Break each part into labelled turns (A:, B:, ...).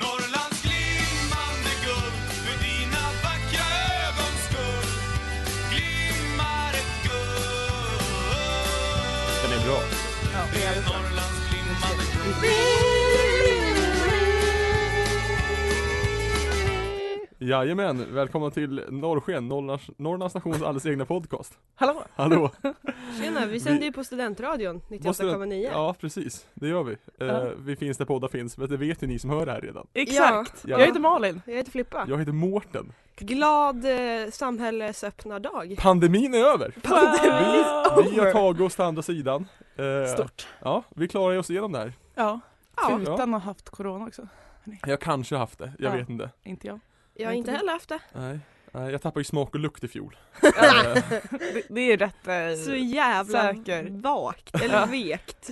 A: Norrlands glimmande guld för dina vackra ögons skull glimmar ett guld
B: Den är bra.
A: Det är Norrlands glimmande guld
B: Jajamän, välkomna till Norrsken, Norrlands, Norrlands nations alldeles egna podcast.
C: Hallå!
B: Hallå!
C: Mm.
D: Tjena, vi sänder ju på studentradion 98,9
B: Ja, precis. Det gör vi. Eh,
C: Ja.
B: Vi finns där poddar finns, men det vet ju ni som hör det här redan.
C: Exakt!
B: Ja.
C: Jag heter Malin.
D: Jag heter Flippa
B: Jag heter Mårten.
D: Glad eh, samhällsöppnardag
B: Pandemin är över!
C: Pandemin
B: Vi, vi har tagit oss till andra sidan. Eh,
C: Stort.
B: Ja, vi klarar oss igenom det här.
C: Ja.
B: Ja.
C: Utan att ha haft corona också.
B: Jag kanske har haft det, jag
C: Ja.
B: vet inte.
C: Inte jag.
D: Jag har inte heller haft det
B: Nej. Nej, Jag tappade ju smak och lukt i fjol.
C: Det, det är rätt
D: Så
C: eh,
D: jävla
C: Säker.
D: vakt, eller vekt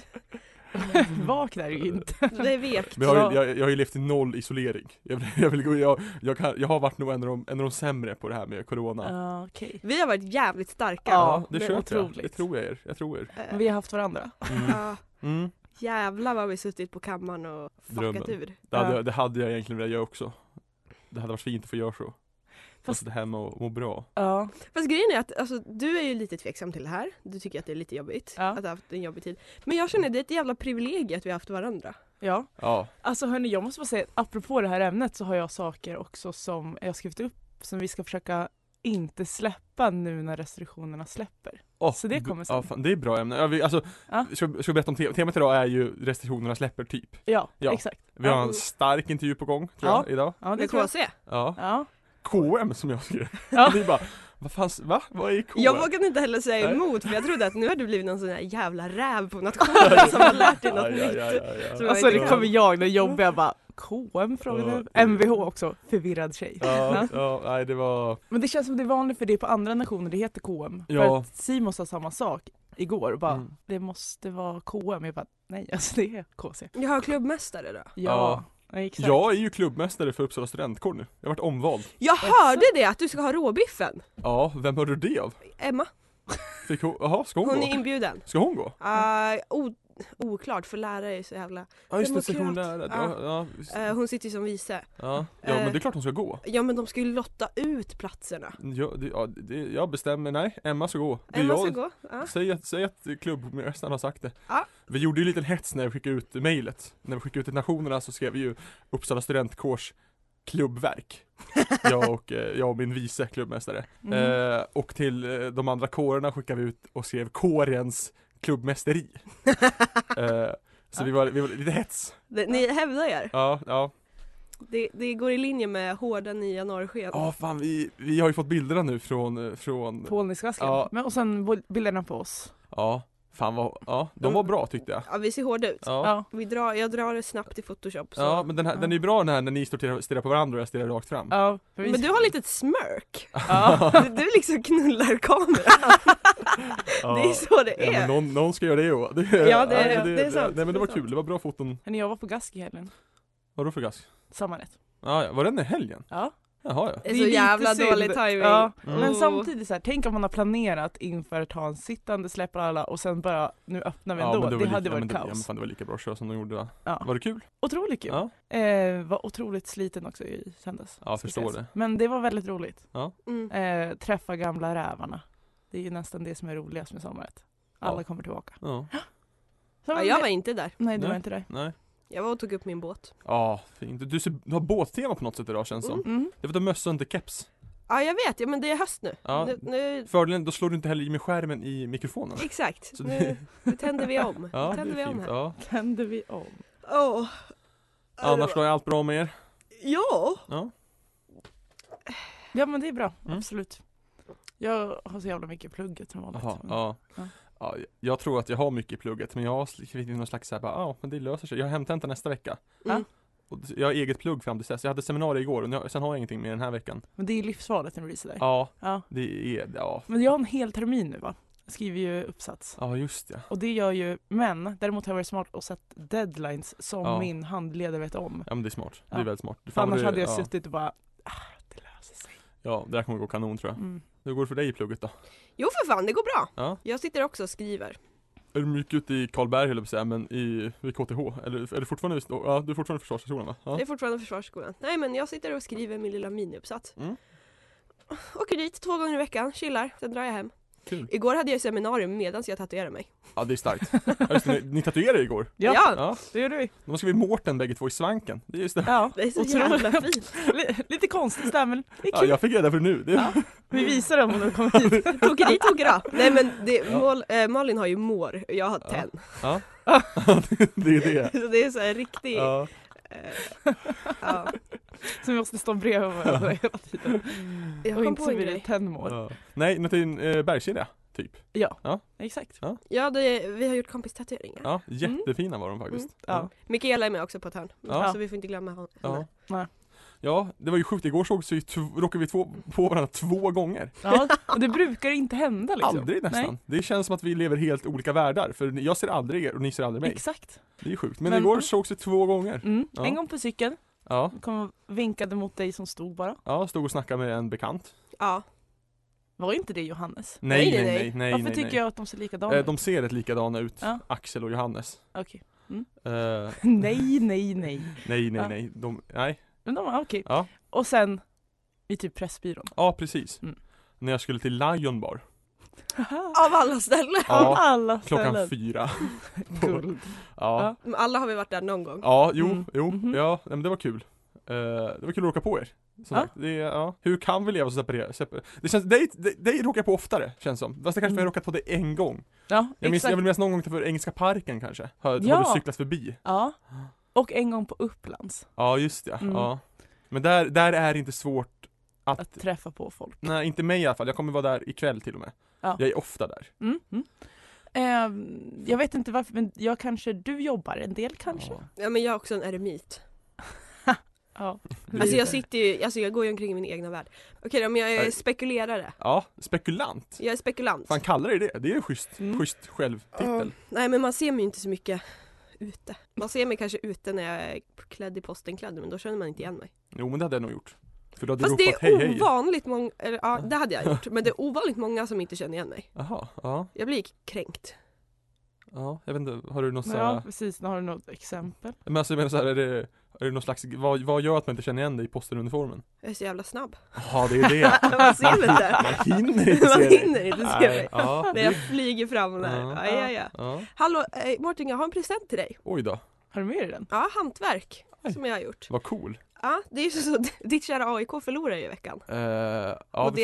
B: Eh.
C: vaknar ju inte.
D: Det är vekt
B: Men jag, har ju-
C: Ja.
B: jag, jag har ju levt i noll isolering. Jag, vill- jag, vill gå, jag, jag, kan, jag har varit nog en av, de, en av de sämre på det här med corona.
C: Ja, Okej.
D: Vi har varit jävligt starka
C: Ja,
B: det
C: det är
B: köper jag.
C: otroligt.
B: Det tror jag er. Jag tror er.
D: Eh,
C: Men Vi har haft varandra.
D: ja,
B: Mm.
D: Jävlar vad vi suttit på kammaren och fuckat
B: Drömmen.
D: ur
B: Det, hade,
C: Ja.
B: jag- det hade jag egentligen velat göra också. Det hade varit fint att få göra så. Fast det här med att må bra.
C: Ja.
D: Fast grejen är att alltså, du är ju lite tveksam till det här Du tycker att det är lite jobbigt,
C: Ja.
D: att du har haft en jobbig tid Men jag känner det är ett jävla privilegium att vi har haft varandra
C: ja.
B: Ja.
C: Alltså hörni, jag måste bara säga att apropå det här ämnet så har jag saker också som jag skrivit upp som vi ska försöka inte släppa nu när restriktionerna släpper.
B: Åh,
C: Så det kommer sen.
B: Ja, fan, det är bra ämne. Ja, vi, alltså,
C: Ja.
B: ska, ska vi berätta om te temat idag är ju restriktionerna släpper typ.
C: Ja,
B: Ja.
C: exakt.
B: Vi har
C: Ja.
B: en stark intervju på gång tror jag idag.
C: Ja, det
D: Med
C: tror jag.
D: KC
B: Ja.
C: Ja.
B: KM som jag skrev.
C: Ja.
B: Ni bara, vad fanns, va? Vad är KM?
D: Jag vågade inte heller säga
B: Nej.
D: emot för jag trodde att nu har du blivit någon sån här jävla räv på nationen som har lärt dig något
B: Aj, aj,
D: nytt.
B: aj, aj, aj.
D: Så-
C: Alltså
D: Ja.
C: det kommer jag, den jobbiga bara KM frågade
B: Ja.
C: MVH också, förvirrad tjej.
B: Ja, ja, nej det var,
C: Men det känns som det är vanligt för det är på andra nationer det heter KM.
B: Ja.
C: För att Simon sa samma sak igår och bara
B: Mm.
C: det måste vara KM. Jag bara nej alltså det är KC.
D: Jag har klubbmästare då.
B: Ja.
C: Ja, ja. exakt.
B: jag är ju klubbmästare för Uppsala studentkår nu. Jag har varit omvald.
D: Jag hörde det att du ska ha råbiffen!
B: Ja, vem hörde du det av?
D: Emma,
B: Fick hon, jaha, ska hon,
D: hon
B: gå?
D: är inbjuden.
B: Ska hon gå?
D: Uh, o- oklart för lärare är så jävla...
B: Ja just det, sektion
D: Demokrat.
B: lärare. Ja, ja, visst.
D: Eh, hon sitter ju som vice.
B: ja. ja men
D: eh.
B: det är klart hon ska gå.
D: Ja men de ska ju lotta ut platserna.
B: Ja, det, ja, det, jag bestämmer, nej Emma ska gå. Det är
D: Emma
B: jag,
D: ska gå. Ja.
B: Säg att, säg att klubbmästaren har sagt det.
D: Ja.
B: Vi gjorde ju en liten hets när vi skickade ut mejlet. När vi skickade ut till nationerna så skrev vi ju Uppsala studentkårs klubbverk. jag, och, eh, jag och min vice klubbmästare.
D: Mm.
C: Mhm.
B: Eh, och till eh, de andra kårerna skickade vi ut och skrev kårens klubbmästeri. eh, så vi, var, vi var lite hets.
D: Det- Ni hävdar er.
B: Ja, ja.
D: Det, det går i linje med hårda nya norrsken.
B: Ja fan vi, vi har ju fått bilderna nu från, eh, från
C: Polniska asken.
B: Ja.
C: Men och sen bo- bilderna på oss.
B: Ja, fan vad, ja de var bra tyckte jag
D: Ja vi ser hårda ut.
B: Ja, ja.
C: Ja.
D: Vi drar, jag drar det snabbt i photoshop. Så.
B: men den, här, den är ju bra den här när ni står och stirrar- stirrar på varandra och jag stirrar rakt fram
C: Ja. för vi-
D: Men du har lite ett smirk.
C: ja.
D: Du, du liksom knullar kameran.
B: Ja.
D: Det är så det
B: Ja, men
D: är.
B: någon, någon ska göra det ju det,
D: Ja, det är-
B: men
D: det är sant,
B: Nej men
D: det
B: det
D: är
B: var
D: sant.
B: kul, det var bra foton
C: Hörni, jag var på gask i helgen.
B: Vadå för gask?
C: Samma rätt.
B: Ja, ja, var den i helgen?
C: Ja.
B: Jaha ja
D: Det är så
C: lite
D: jävla
C: synd.
D: dålig timing.
C: Ja.
B: Mm.
C: Men
D: Oh.
C: samtidigt så här, tänk om man har planerat inför att ha en sittande, släpper alla och sen bara nu öppnar vi
B: ja,
C: ändå.
B: men
C: det
B: var lika-
C: hade
B: ja, men
C: varit
B: det- Ja men
C: kaos.
B: fan det var lika bra att köra som de gjorde va?
C: Ja.
B: Var det kul?
C: Otroligt kul.
B: Ja,
C: Eh, var otroligt sliten också i söndags.
B: Ja, jag
C: ska
B: förstår
C: sägas.
B: det.
C: Men det var väldigt roligt.
D: Mm.
C: Eh, träffa gamla rävarna. Det är ju nästan det som är roligast med sommaret. Alla
B: Ja.
C: kommer tillbaka.
B: ja,
C: Så
D: Ja,
C: var
D: jag
C: det-
D: var inte där.
C: Nej, du
B: Nej.
C: var inte där.
B: nej
D: Jag var och tog upp min båt.
B: Ja, fint. Du, ser, du har båttema på något sätt idag känns det som
C: Mm.
B: Det var att du har mössa och inte keps
D: Ja jag vet, ja, men det är höst nu.
B: Ja.
D: nu, nu
B: Fördelen, då slår du inte heller i med skärmen i mikrofonen
D: exakt,
B: Så
D: nu,
B: det-
D: nu tänder vi om.
B: Ja,
D: nu
B: det
D: tänder vi
B: är
D: om
B: fint.
D: här.
B: Ja.
C: Tände vi om.
D: Åh. Ja, det
B: Annars
D: var-
B: då är allt bra med er?
D: Ja,
B: Ja.
C: Ja, men det är bra.
B: Mm.
C: Absolut. Jag har så jävla mycket plugget som vanligt.
B: Jaha,
C: Men-
B: ja.
C: Ja.
B: ja. Jag tror att jag har mycket i plugget men jag har skrivit in någon slags såhär, ja men det löser sig. Jag har hemtenta nästa vecka.
D: Mm.
B: Och det- jag har eget plugg fram till dess. Jag hade seminarier igår och nu- sen har jag ingenting mer den här veckan.
C: Men det är ju livsfarligt när det blir sådär.
B: Ja,
C: Ja.
B: det är, ja.
C: Men jag har en hel termin nu va? Jag skriver ju uppsats.
B: Ja just ja.
C: Och det gör ju, men däremot har jag varit smart och satt deadlines som
B: Ja.
C: min handledare vet om.
B: Ja men det är smart. Det är
C: Ja.
B: väldigt smart.
C: För
B: Fan, vad
C: annars
B: du-
C: hade jag
B: ja.
C: suttit och bara, ah, det löser sig.
B: Ja, det här kommer gå kanon tror jag.
C: Mm.
B: Hur går det för dig i plugget då?
D: Jo för fan, det går bra.
B: Ja.
D: Jag sitter också och skriver.
B: Är du mycket ute i Karlberg höll jag på att säga, men i, vid KTH? Eller är du fortfarande, i- ja, du är fortfarande i Försvarshögskolan va? Ja. Typ.
D: Det är fortfarande Försvarsskolan. Nej men jag sitter och skriver min lilla miniuppsats.
B: Mm.
D: Åker dit två gånger i veckan, chillar, sen drar jag hem.
B: Kul.
D: Igår hade jag seminarium medan jag tatuerade mig.
B: Ja, det är starkt. Ja, just det, ni, ni tatuerade ju igår.
C: Ja.
D: ja
B: Ja.
C: Det gjorde vi.
B: De har skrivit Mårten bägge två i svanken. Det är just det.
C: Ja.
D: det är så
C: Otroligt.
D: jävla fint.
C: Li- Lite konstigt där men det är
B: Ja,
C: kul.
B: jag fick reda på det nu. Det är,
C: Vi visar dem när de kommer hit.
D: Tog dit, tog då. Nej men det,
B: Ja.
D: Mal, eh, Malin har ju mår och jag har
B: Ja.
D: tenn.
B: det, är det.
D: Så det är så här riktig... Ja.
B: Ja.
D: ja.
C: Så vi måste stå bredvid varandra hela tiden.
D: Jag
C: Och
D: kom
C: inte
D: på
C: så
D: en
C: blir det
D: grej.
C: tändmål.
B: Ja. Nej, Nathin eh, Bergskedja, typ.
C: Exakt.
D: Ja, det, vi har gjort kompistatueringar.
B: Ja, Mm. jättefina var de faktiskt.
C: Ja.
D: Mikaela är med också på ett hörn.
B: Ja.
D: Så vi får inte glömma hon-
B: Ja.
D: henne.
C: Nej.
B: ja, det var ju sjukt. Igår såg så ju tv- råkade vi två, på varandra två gånger.
C: Ja. Och det brukar inte hända liksom.
B: Aldrig nästan.
C: Nej.
B: Det känns som att vi lever helt olika världar. För ni- jag ser aldrig er och ni ser aldrig mig.
C: Exakt.
B: Det är sjukt. Men,
C: Men-
B: igår sågs vi två gånger.
C: Mm.
B: Ja.
C: En gång på cykeln,
B: Ja,
C: kom och vinkade mot dig som stod bara.
B: ja stod och snackade med en bekant.
D: Ja.
C: Var inte det Johannes?
B: Nej, nej,
D: Nej, nej,
B: nej.
D: nej.
B: nej,
C: Varför
B: nej,
C: tycker
B: nej.
C: jag att de ser likadana
B: Eh,
C: ut?
B: De ser rätt likadana ut,
C: Ja.
B: Axel och Johannes.
C: Okej.
B: Eh,
C: nej, nej, nej.
B: nej, nej,
C: Ja.
B: nej. De, nej.
C: Men de var okej.
B: Ja.
C: Och sen i typ Pressbyrån.
B: ja, precis.
C: Mm.
B: När jag skulle till Lion Bar.
D: Av alla ställen!
C: Av
B: Ja,
C: alla
B: klockan
C: ställen.
B: fyra.
C: Guld.
B: Ja,
C: Ja.
D: Men Alla har vi varit där någon gång.
B: Ja, jo,
C: Mm.
B: jo,
C: Mhm.
B: ja, nej, men det var kul. Eh, det var kul att åka på er. Som
C: Ja.
B: sagt, det, är- ja. Hur kan vi leva så separerade? Separ det känns, dig, dig, dig råkar jag på oftare, känns som. Fast det kanske
C: Mm.
B: vi har råkat på dig en gång.
C: Ja,
B: Jag, minns,
C: exakt.
B: jag vill minnas någon gång för Engelska parken kanske. Har,
C: Ja.
B: har du cyklat förbi?
C: Ja. Och en gång på Upplands.
B: Ja, just det.
C: Mm.
B: Ja. Men där, där är det inte svårt att,
C: Att träffa på folk.
B: nej inte mig i alla fall. Jag kommer vara där ikväll till och med.
C: Ja.
B: Jag är ofta där.
C: Mm. Mm. Ehm, jag vet inte varför, men jag kanske, du jobbar en del kanske?
B: Ja.
D: Ja men jag är också en eremit.
C: Ja.
D: Alltså jag sitter ju, alltså jag går ju omkring i min egna värld. Okej då, men jag är
B: Nej.
D: spekulerare.
B: Ja, spekulant.
D: Jag är spekulant.
B: Fan kallar det det? Det är en schysst,
C: Mm.
B: schysst självtitel.
D: Ja. Nej men man ser mig ju inte så mycket ute. Man ser mig kanske ute när jag är klädd i postenkläder men då känner man inte igen mig.
B: Jo men det hade jag nog gjort. För då hade
D: Fast
B: du
D: det
B: ropat
D: är
B: hej hej.
D: ovanligt många, eller ja det hade jag gjort, men det är ovanligt många som inte känner igen mig.
B: Jaha, ja.
D: Jag blir kränkt.
B: Ja, jag vet inte, har du någon så
C: ja,
B: här,
C: precis. Nu har du något exempel.
B: men alltså jag menar så här, är det, är det någon slags, vad, vad gör att man inte känner igen dig i postenuniformen?
D: Jag är så jävla snabb.
B: Ja det är det,
D: Man ser mig inte.
B: man hinner inte
D: Man
B: se dig!
D: hinner inte se
B: Nej,
D: mig.
B: ja,
D: När jag flyger fram där.
B: Ja.
D: Aj, aj, aj.
B: ja.
D: Hallå eh, Martin, jag har en present till dig.
B: Oj då,
C: Har du med dig den?
D: Ja, hantverk
B: Aj.
D: som jag har gjort.
B: vad cool!
D: Ja, det är ju så ditt kära AIK förlorar ju i veckan.
B: Eh, ja,
D: Och
B: vi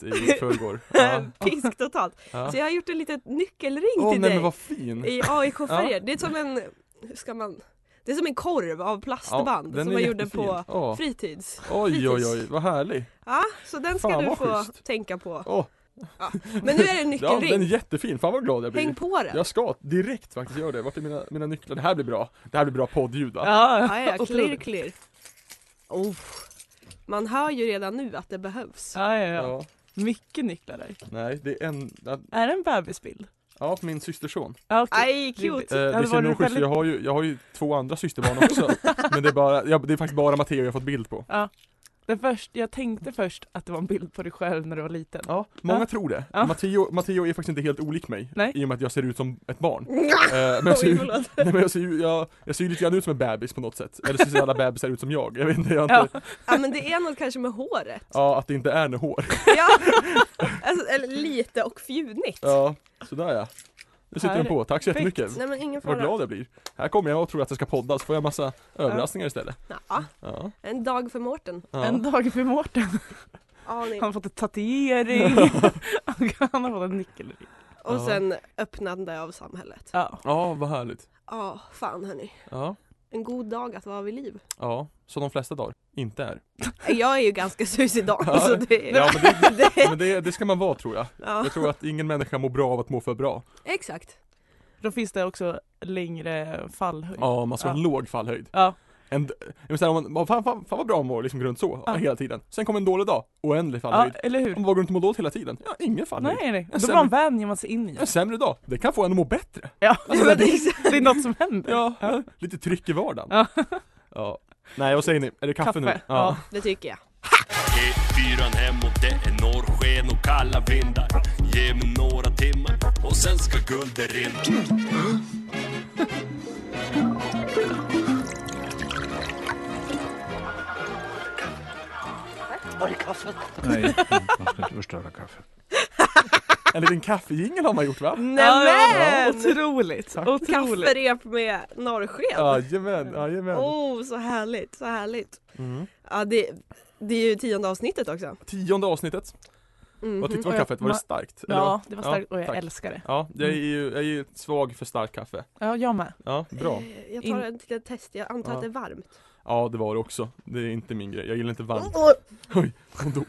D: Degerfors.
B: med 2-1 i förrgår. Ja,
D: Pisk totalt.
B: ja.
D: Så jag har gjort en liten nyckelring
B: Åh
D: till
B: nej
D: dig
B: men vad fin!
D: i AIK-färger. Det är som en, hur ska man, det är som en korv av plastband
B: den
D: som
B: är
D: man gjorde
B: jättefin.
D: på
B: Ja.
D: fritids.
B: Oj oj oj,
D: fritids.
B: vad härlig!
D: Ja, så den ska
B: Fan,
D: du
B: vad
D: få
B: schysst.
D: tänka på.
B: Åh.
D: Ja. Men nu är det en
B: Ja
D: nyckelring.
B: den är jättefin, fan vad glad jag
D: Häng
B: blir!
D: på den.
B: Jag ska direkt faktiskt göra det, vart är mina, mina nycklar? Det här blir bra, det här blir bra poddljud va?
D: Ja, ja, ja, klirr,
C: otroligt.
D: klirr. Oh. Man hör ju redan nu att det behövs.
C: Ja, ja, ja.
B: Ja,
C: Mycket nycklar där.
B: nej det är en,
C: Är det en bebisbild?
B: ja min systerson
C: Ja, okej.
D: Aj,
C: Rimligt.
D: cute!
B: Eh,
C: hade
B: det ser
C: varit
B: nog schysst,
C: väldigt-
B: jag, har ju, jag har ju två andra systerbarn också Men det är, bara, ja, det är faktiskt bara Matteo jag har fått bild på
C: Den först, jag tänkte först att det var en bild på dig själv när du var liten.
B: Ja, många
C: Ja.
B: tror det
C: Ja.
B: Matteo, Matteo är faktiskt inte helt olik mig
C: Nej.
B: I och med att jag ser ut som ett barn eh,
D: Oj,
B: Men jag ser ju,
D: förlåt.
B: nej, men jag ser ju, jag, jag ser ju lite grann ut som en bebis på något sätt Eller så ser alla bebisar ut som jag, jag vet inte, jag har inte, ja.
D: Ja men det är något kanske med håret.
B: att det inte är något hår
D: Ja. Alltså, eller lite och fjunigt.
B: Ja, sådär ja Nu sitter den på, tack så
C: Perfekt.
B: jättemycket
D: Nej men ingen
B: Vad
D: fara.
B: glad jag blir Här kommer jag och tror att jag ska podda så får jag massa överraskningar istället
D: Ja,
B: Ja,
D: en dag för Mårten.
B: ja.
C: En dag för Mårten.
D: Ja, nej.
C: Han har fått en tatuering. Han har fått en nyckelring.
D: Och
B: Ja.
D: sen öppnande av samhället.
C: Ja.
B: ja vad härligt
D: Ja, fan hörni.
B: Ja
D: En god dag att vara vid liv.
B: Ja, som de flesta dagar inte är.
D: Jag är ju ganska suicidal
B: Ja.
D: så det är...
B: Ja, men det,
D: det-
B: men det, det ska man vara tror jag.
D: Ja,
B: Jag tror att ingen människa mår bra av att må för bra.
D: exakt.
C: Då finns det också längre fallhöjd.
B: Ja, man ska ha en
C: Ja.
B: låg fallhöjd.
C: Ja.
B: En, d- jag vill säga, om man, fan, fan, fan vad bra man mår liksom runt så,
C: Ja.
B: hela tiden. Sen kommer en dålig dag, oändlig
C: Ja,
B: fallhöjd.
C: eller hur?
B: Om man går runt och mår dåligt hela tiden, ja ingen fallhöjd.
C: Nej, nej. Då
B: sen-
C: bara vänjer man sig in i
B: En
C: det.
B: sämre dag, det kan få en att må bättre.
C: Ja, alltså,
D: Men
C: det,
D: exakt.
C: det är något som händer.
B: Ja, lite tryck i vardagen.
C: Ja.
B: Ja. Nej vad säger ni, är det kaffe, nu?
C: Ja.
D: Det tycker jag.
A: E4 hemåt, det är norrsken och kalla vindar. Ge mig några timmar och sen ska guldet rinna.
E: Nej, man ska inte förstöra kaffet.
B: En liten kaffejingel har man gjort va?
C: Ja,
D: Nämen!
C: otroligt!
B: Tack.
C: otroligt.
D: Kafferep med norrsken.
B: Jajamän, jajamän.
D: Oh, så härligt, så härligt.
B: Mm.
D: Ja, det, det är ju tionde avsnittet också.
B: Tionde avsnittet.
D: Mhm.
B: Vad tyckte du om
C: Och jag-
B: kaffet? Var det
C: ma-
B: starkt? Eller vad?
C: Ja, det var starkt och jag
B: tack.
C: älskar det.
B: Ja, jag
C: Mm.
B: är ju, jag är ju svag för starkt kaffe.
C: Ja, jag med.
B: Ja, bra.
D: Eh, Jag tar en till ett test, jag antar
B: Ja.
D: att det är varmt.
B: Ja, det var det också. Det är inte min grej. Jag gillar inte varmt.
D: Oh.
B: Hon dog.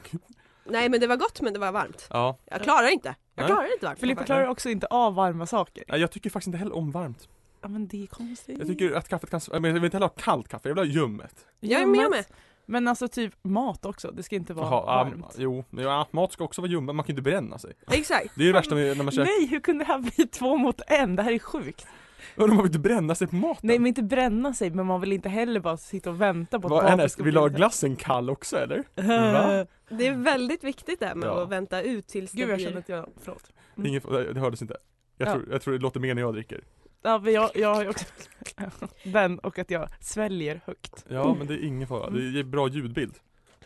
D: Nej men det var gott men det var varmt.
B: Ja,
D: Jag klarar inte. Jag
B: Nej.
D: klarar inte varmt.
C: Filippa klarar också inte av varma saker.
B: Nej, jag tycker faktiskt inte heller om varmt.
C: Ja, men det är konstigt.
B: Jag tycker att kaffet kan, jag men jag vill inte heller ha kallt kaffe, jag vill ha ljummet.
D: Jag är med med.
C: Men alltså typ mat också, det ska inte vara
B: Jaha, um,
C: varmt.
B: jo, men ja, mat ska också vara ljummet, man kan ju inte bränna sig.
D: Exakt.
B: Det är det värsta med när man käkar,
C: Nej, hur kunde det här bli två mot en? Det här är sjukt.
B: Undrar om man vill inte bränna sig på maten.
C: Nej, men inte bränna sig, men man vill inte heller bara sitta och vänta på att
B: Vad
C: maten
B: är det? Ska vi
C: bli
B: laga
C: så-
B: glassen kall också eller? Va?
C: Eh,
D: Det är väldigt viktigt det här med
B: Ja.
D: att vänta ut tills
C: Gud,
D: det
C: jag
D: blir...
C: känner att jag, förlåt. Mm.
B: Ingen, det hördes inte. Jag,
C: Ja.
B: tror, jag tror det låter mer när jag dricker.
C: Ja, men jag, jag har ju också den och att jag sväljer högt.
B: Ja, men det är ingen fara.
C: Mm.
B: Det ger bra ljudbild.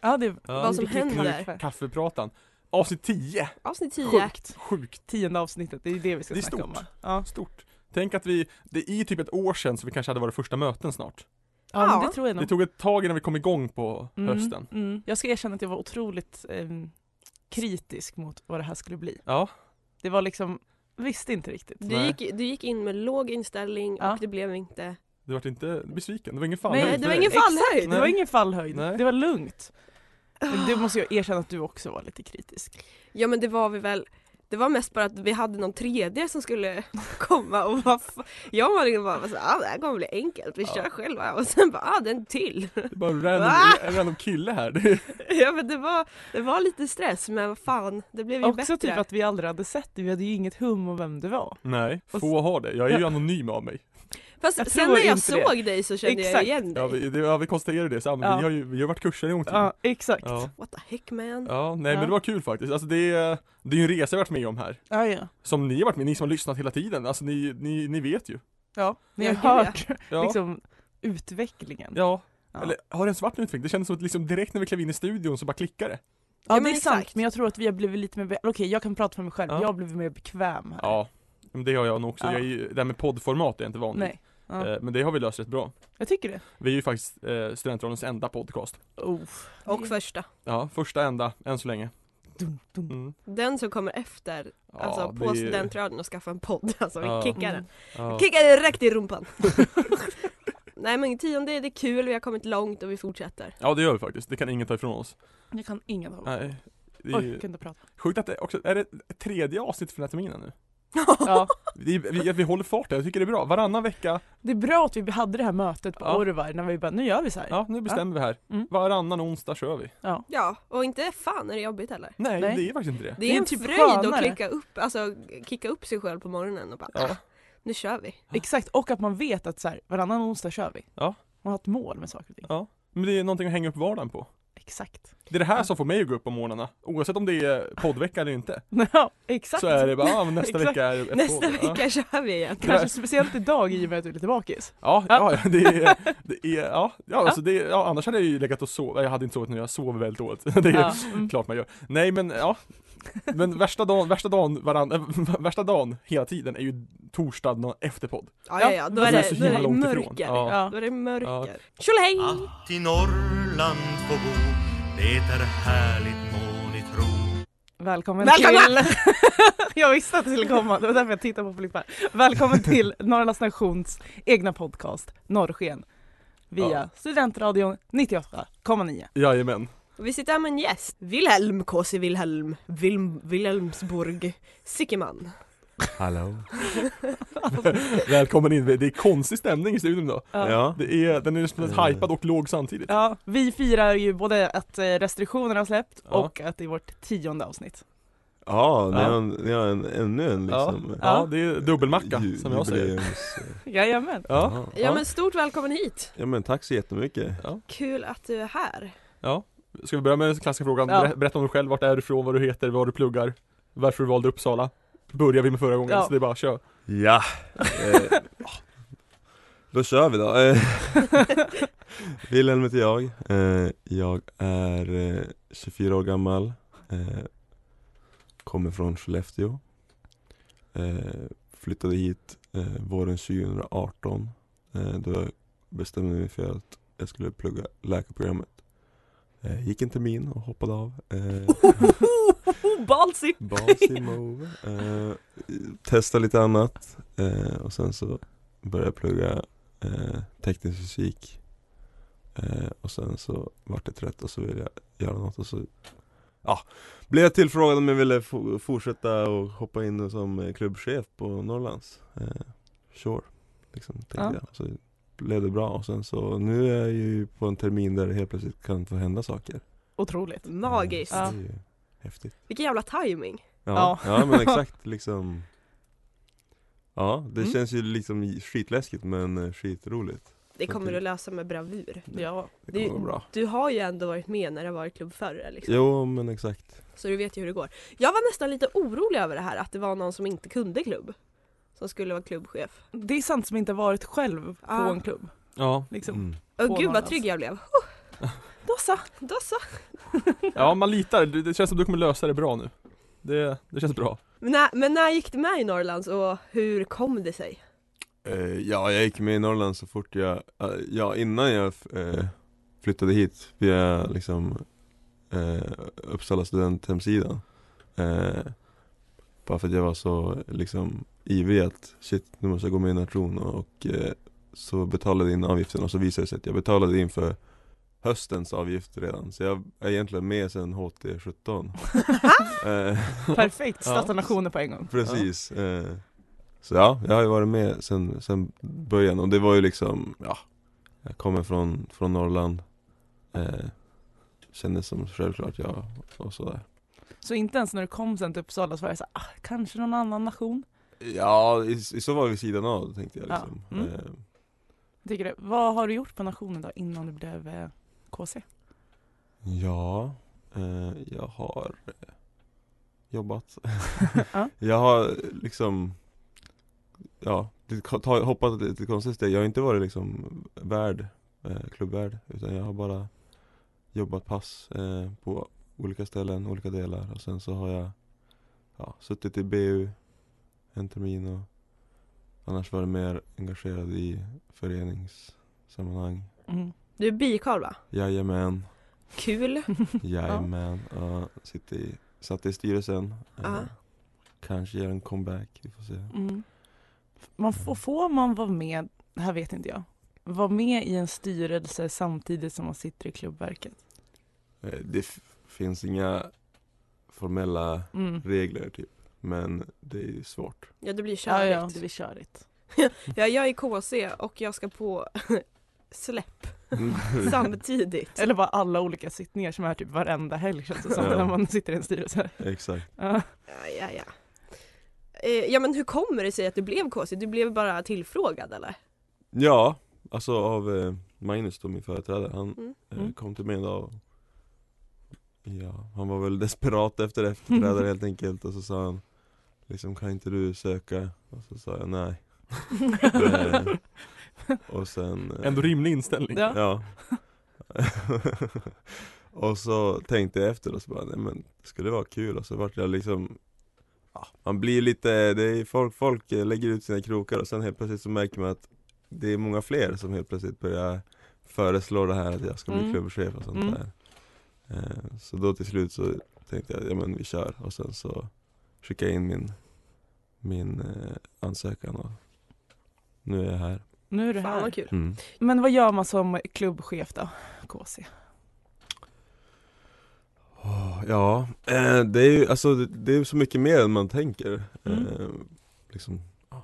C: Ja, det
B: Ja.
D: Vad som
C: det kan ju
D: händer.
C: vara
B: Kaffepratan. Avsnitt 10!
D: Avsnitt 10.
C: Sjukt.
B: Sjukt
C: Tionde avsnittet, det är det vi ska
B: Det är
C: snacka om.
B: stort.
C: va? Ja,
B: stort. Tänk att vi, det är typ ett år sedan så vi kanske hade våra första möten snart.
C: ja,
D: Ja.
C: Men det tror jag nog.
B: Det tog ett tag innan vi kom igång på
C: Mm,
B: hösten.
C: Mm. Jag ska erkänna att jag var otroligt ehm, kritisk mot vad det här skulle bli.
B: Ja,
C: Det var liksom, visste inte riktigt.
D: Du
B: Nej.
D: gick, du gick in med låg inställning
C: Ja.
D: och det blev inte...
B: du vart inte besviken. Det var ingen fan
C: Nej,
B: höjd
D: det
B: för
D: var
B: dig.
D: ingen fallhöjd!
C: Det var ingen fallhöjd,
B: Nej.
C: det var lugnt. Det måste jag erkänna att du också var lite kritisk.
D: Ja men det var vi väl... Det var mest bara att vi hade någon tredje som skulle komma och vad f- Jag var liksom bara såhär, ah, det här kommer bli enkelt, vi
B: Ja.
D: kör själva och sen bara, ah den till.
B: Det är bara en random, en random kille här. Det är,
D: Ja men det var, det var lite stress men vad fan, det blev ju
C: Också
D: bättre.
C: typ att vi aldrig hade sett dig, vi hade ju inget hum om vem du var.
B: nej,
C: Och
B: få har det. Jag är ju anonym av mig.
D: Fast
C: jag
D: sen
C: tror
D: när jag
C: inte det.
D: såg dig så kände jag
C: Exakt.
D: igen dig.
B: Ja, vi, det, ja, vi konstaterade det samman.
C: Ja.
B: Vi har ju vi har varit kurser i gång
C: Ja, exakt.
B: ja.
C: Ja,
D: What the heck man.
B: ja, nej
C: Ja.
B: men det var kul faktiskt. Alltså det, är- det är ju en resa jag varit med om här.
C: ja.
B: Som ni har varit med, ni som har lyssnat hela tiden. Alltså ni, ni, ni vet ju.
C: Ni har
D: Ja, gud, ja.
C: hört
B: Ja.
C: liksom utvecklingen. Ja,
B: Ja.
C: Ja.
B: Eller har det ens varit en utveckling? Det kändes som att liksom direkt när vi klev in i studion så bara klickade det.
D: Ja,
C: det är
D: men
C: sant,
D: exakt.
C: men jag tror att vi har blivit lite mer, be- okej jag kan prata för mig själv,
B: Ja.
C: jag har blivit mer bekväm här.
B: Ja, men det har jag nog också.
C: Ja.
B: Jag är ju, det här med poddformat är jag inte van vid.
C: Nej, ja.
B: Eh, Men det har vi löst rätt bra.
C: jag tycker det.
B: Vi är ju faktiskt eh, Studentrollens enda podcast.
C: Oh.
D: Och första.
B: Ja, första enda, än så länge.
C: Dum, dum.
B: Mm.
D: Den som kommer efter,
B: Ja,
D: alltså på
B: det-
D: studentradion och skaffa en podd. Alltså vi
B: Ja.
D: kickar den.
C: Mm.
B: ja.
D: Kicka direkt i rumpan! Nej men tionde, det är kul, vi har kommit långt och vi fortsätter.
B: ja, det gör vi faktiskt. Det kan ingen ta ifrån oss.
C: Jag kan ingen av dem.
B: Nej. Det är
C: Oj, jag
B: ju
C: kan inte prata.
B: sjukt att det också, är det ett tredje avsnitt för den här terminen nu?
C: Ja.
B: Det är, vi, vi håller farten, jag tycker det är bra. Varannan vecka,
C: Det är bra att vi hade det här mötet på
B: Ja.
C: Orvar när vi bara, nu gör vi så här.
B: ja nu bestämmer vi här.
C: Mm.
B: Varannan onsdag kör vi.
D: Ja, och inte fan är det jobbigt heller.
B: Nej,
C: Nej.
B: det är faktiskt inte det.
D: Det är,
C: är
D: en
C: typ
D: fröjd att
C: skönare.
D: klicka upp, alltså kicka upp sig själv på morgonen och bara
B: Ja.
D: "Ah, nu kör vi.
C: Exakt, och att man vet att så här, varannan onsdag kör vi.
B: Ja.
C: Man har ett mål med saker och ting.
B: Ja. Men det är någonting att hänga upp vardagen på.
C: Exakt.
B: Det är det här som får mig att gå upp på morgnarna. Oavsett om det är poddvecka eller inte.
C: Ja, exakt.
B: Så är det bara, ja, men nästa
C: Exakt.
B: vecka är ett
D: Nästa
B: podd. Ja.
D: vecka kör vi igen.
C: Kanske speciellt idag i och med att du är lite bakis.
B: Ja, ja, ja, det är, det är, ja, ja, alltså det är, ja, annars hade jag ju legat och sovit, jag hade inte sovit nu, jag sover väldigt dåligt. Det är
C: Ja. Mm.
B: klart man gör. Nej men ja, men värsta dagen, värsta dagen, varann, äh, värsta dagen hela tiden är ju torsdag dagen efter podd.
D: Ja ja, ja då
B: Alltså,
D: är
B: det är
D: det,
B: så
D: då är
B: himla
D: det
B: långt ifrån.
D: mörker.
B: Ja.
C: Ja.
D: Då är det mörker.
A: Att
D: Tjolahej!
A: i Norrland få bo, det är härligt må ni tro.
C: Välkommen
D: Välkomna!
C: till... jag visste att det skulle komma, det var därför jag tittade på Filippa. Välkommen till Norrlands Nations egna podcast Norrsken via
B: Ja.
C: Studentradion 98,9.
B: Jajamän.
D: Vi sitter här med en gäst. Wilhelm KC Wilhelm, Wilm, Wilhelmsburg, Sickeman.
F: Hallå?
B: Välkommen in, det är konstig stämning i studion idag.
C: Ja.
B: Det är, den är liksom hypad och låg samtidigt.
C: Ja, vi firar ju både att eh, restriktionerna har släppt
B: Ja.
C: och att det är vårt tionde avsnitt.
F: Ja, ni
B: Ja.
F: har, en, ni har en, ännu en
B: Ja,
F: liksom
B: ja, det är dubbelmacka
F: ju-
B: som jag säger.
F: jubileums-
C: Jajamän.
B: Ja,
D: Ja men stort välkommen hit!
F: ja men tack så jättemycket
D: Kul att du är här.
B: ja. Ska vi börja med den klassiska frågan?
C: Ja.
B: Ber- Berätta om dig själv, vart är du ifrån, vad du heter, vad du pluggar, varför du valde Uppsala. Börjar vi med förra gången,
C: Ja.
B: så det är bara kör.
F: Ja! Eh, då kör vi då. Eh, Wilhelm heter jag. Eh, jag är eh, 24 år gammal. Eh, kommer från Skellefteå. Eh, flyttade hit eh, våren 2018. Eh, då jag bestämde mig för att jag skulle plugga läkarprogrammet. Eh, gick en termin och hoppade av. Eh,
D: Balsy!
F: Basimove. Eh, testa lite annat eh, och sen så började jag plugga eh, teknisk fysik. Eh, och sen så vart det trött och så ville jag göra något och så ja, blev jag tillfrågad om jag ville fo- fortsätta och hoppa in som eh, klubbchef på Norrlands. Eh, sure, liksom tänkte
C: Ja.
F: jag. Så blev det bra och sen så nu är jag ju på en termin där det helt plötsligt kan få hända saker.
C: Otroligt.
D: Magiskt.
F: Eh, det är ju häftigt.
D: Vilken jävla timing.
F: Ja,
C: Ja.
F: ja men exakt liksom Ja, det
C: Mm.
F: känns ju liksom skitläskigt men eh, skitroligt
D: Det kommer du lösa med bravur.
C: Ja.
F: Det
D: Det-
F: kommer gå bra
D: Du har ju ändå varit med när det har varit klubb förr liksom.
F: Jo men exakt
D: Så du vet ju hur det går. Jag var nästan lite orolig över det här att det var någon som inte kunde klubb. Som skulle vara klubbchef.
C: Det är sant som inte har varit själv på
D: Ja.
C: en klubb.
B: Ja.
C: Liksom.
F: mm.
D: Åh gud
C: På
D: vad
C: Norrlands.
D: trygg jag blev. Huh. Då så, då så.
B: ja, man litar. Det det känns som du kommer lösa det bra nu. Det, det känns bra.
D: Men när, men när gick du med i Norrlands och hur kom det sig?
F: Eh, Ja, jag gick med i Norrland så fort jag eh, Ja, innan jag eh, flyttade hit via liksom eh, Uppsala studenthemsidan eh, Bara för att jag var så liksom ivrig att shit, nu måste jag gå med i nation och eh, så betalade jag in avgiften och så visade det sig att jag betalade in för höstens avgift redan så jag är egentligen med sedan HT 17 eh,
C: Perfekt,
B: Ja.
C: starta nationer på en gång.
F: Precis eh, Så ja, jag har ju varit med sen, sen början och det var ju liksom, ja Jag kommer från, från Norrland eh, Kändes som självklart jag och sådär
C: Så inte ens när du kom sen till Uppsala så var jag såhär, ah, kanske någon annan nation.
F: Ja, i, i så var vi sidan av tänkte jag
C: Ja,
F: liksom
C: mm.
F: eh,
C: Jag Tycker det. Vad har du gjort på nationen då innan du blev eh, KC?
F: Ja, eh, jag har eh, jobbat.
C: Ja.
F: Jag har liksom, ja, det ko- ta- hoppat till ett konstigt steg. Jag har inte varit liksom värd, eh, klubbvärd, utan jag har bara jobbat pass eh, på olika ställen, olika delar och sen så har jag ja, suttit i BU en termin och annars varit mer engagerad i föreningssammanhang.
C: Mm.
D: Du är bikarl va?
F: Jajamän.
D: Kul.
F: Jajamän, ja. sitter i, satt i styrelsen
D: Ja.
F: Eh, Kanske gör en comeback, vi får se
C: Mm. Man får, får man vara med, det här vet inte jag, vara med i en styrelse samtidigt som man sitter i klubbverket?
F: Eh, Det f- finns inga formella
C: Mm.
F: regler typ Men det är ju svårt
D: Ja det blir
C: Ja,
D: körigt.
C: ja, det blir körigt.
D: Ja, jag är KC och jag ska på släpp samtidigt.
C: Eller bara alla olika sittningar som är typ varenda helg känns det som
F: Ja.
C: när man sitter i en styrelse.
F: Exakt
C: Ja.
D: Ja, ja, ja. Eh, Ja men hur kommer det sig att du blev KC? Du blev bara tillfrågad eller?
F: Ja, alltså av eh, Magnus då, min företrädare, han
D: Mm.
F: eh,
C: Mm.
F: kom till mig en dag och, Ja, han var väl desperat efter efterträdare helt enkelt och så sa han Liksom kan inte du söka? Och så sa jag nej Eh, Och sen eh,
B: Ändå rimlig inställning.
C: Ja.
F: Ja. och så tänkte jag efter och så bara, nej men skulle det vara kul och så vart jag liksom ja, Man blir lite, det är folk, folk eh, lägger ut sina krokar och sen helt plötsligt så märker man att Det är många fler som helt plötsligt börjar föreslå det här att jag ska bli
C: Mm.
F: klubbchef och sånt
C: Mm.
F: där Eh, Så då till slut så tänkte jag, ja men vi kör och sen så skickade jag in min, min eh, ansökan och nu är jag här Mm.
C: Nu är du
D: Fan vad
C: här.
D: kul.
C: Men vad gör man som klubbchef då, KC?
F: Åh, Ja, eh, det är ju alltså, det- det är så mycket mer än man tänker.
C: Mm.
F: Eh, liksom, ja.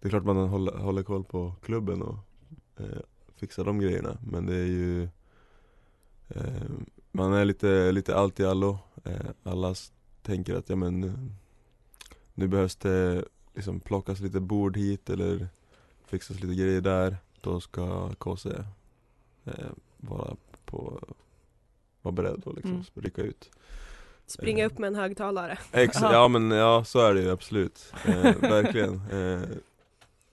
F: Det är klart man håller, håller koll på klubben och eh, fixar de grejerna men det är ju eh, Man är lite, lite allt i allo. Eh, alla s- tänker att ja, men, nu- nu behövs det liksom, plockas lite bord hit eller fixas lite grejer där. Då ska KC eh, vara på vara beredd och liksom
C: Mm.
F: rycka ut
D: Springa
F: Eh.
D: upp med en högtalare.
F: Exakt, ja men ja så är det ju absolut, eh, verkligen eh,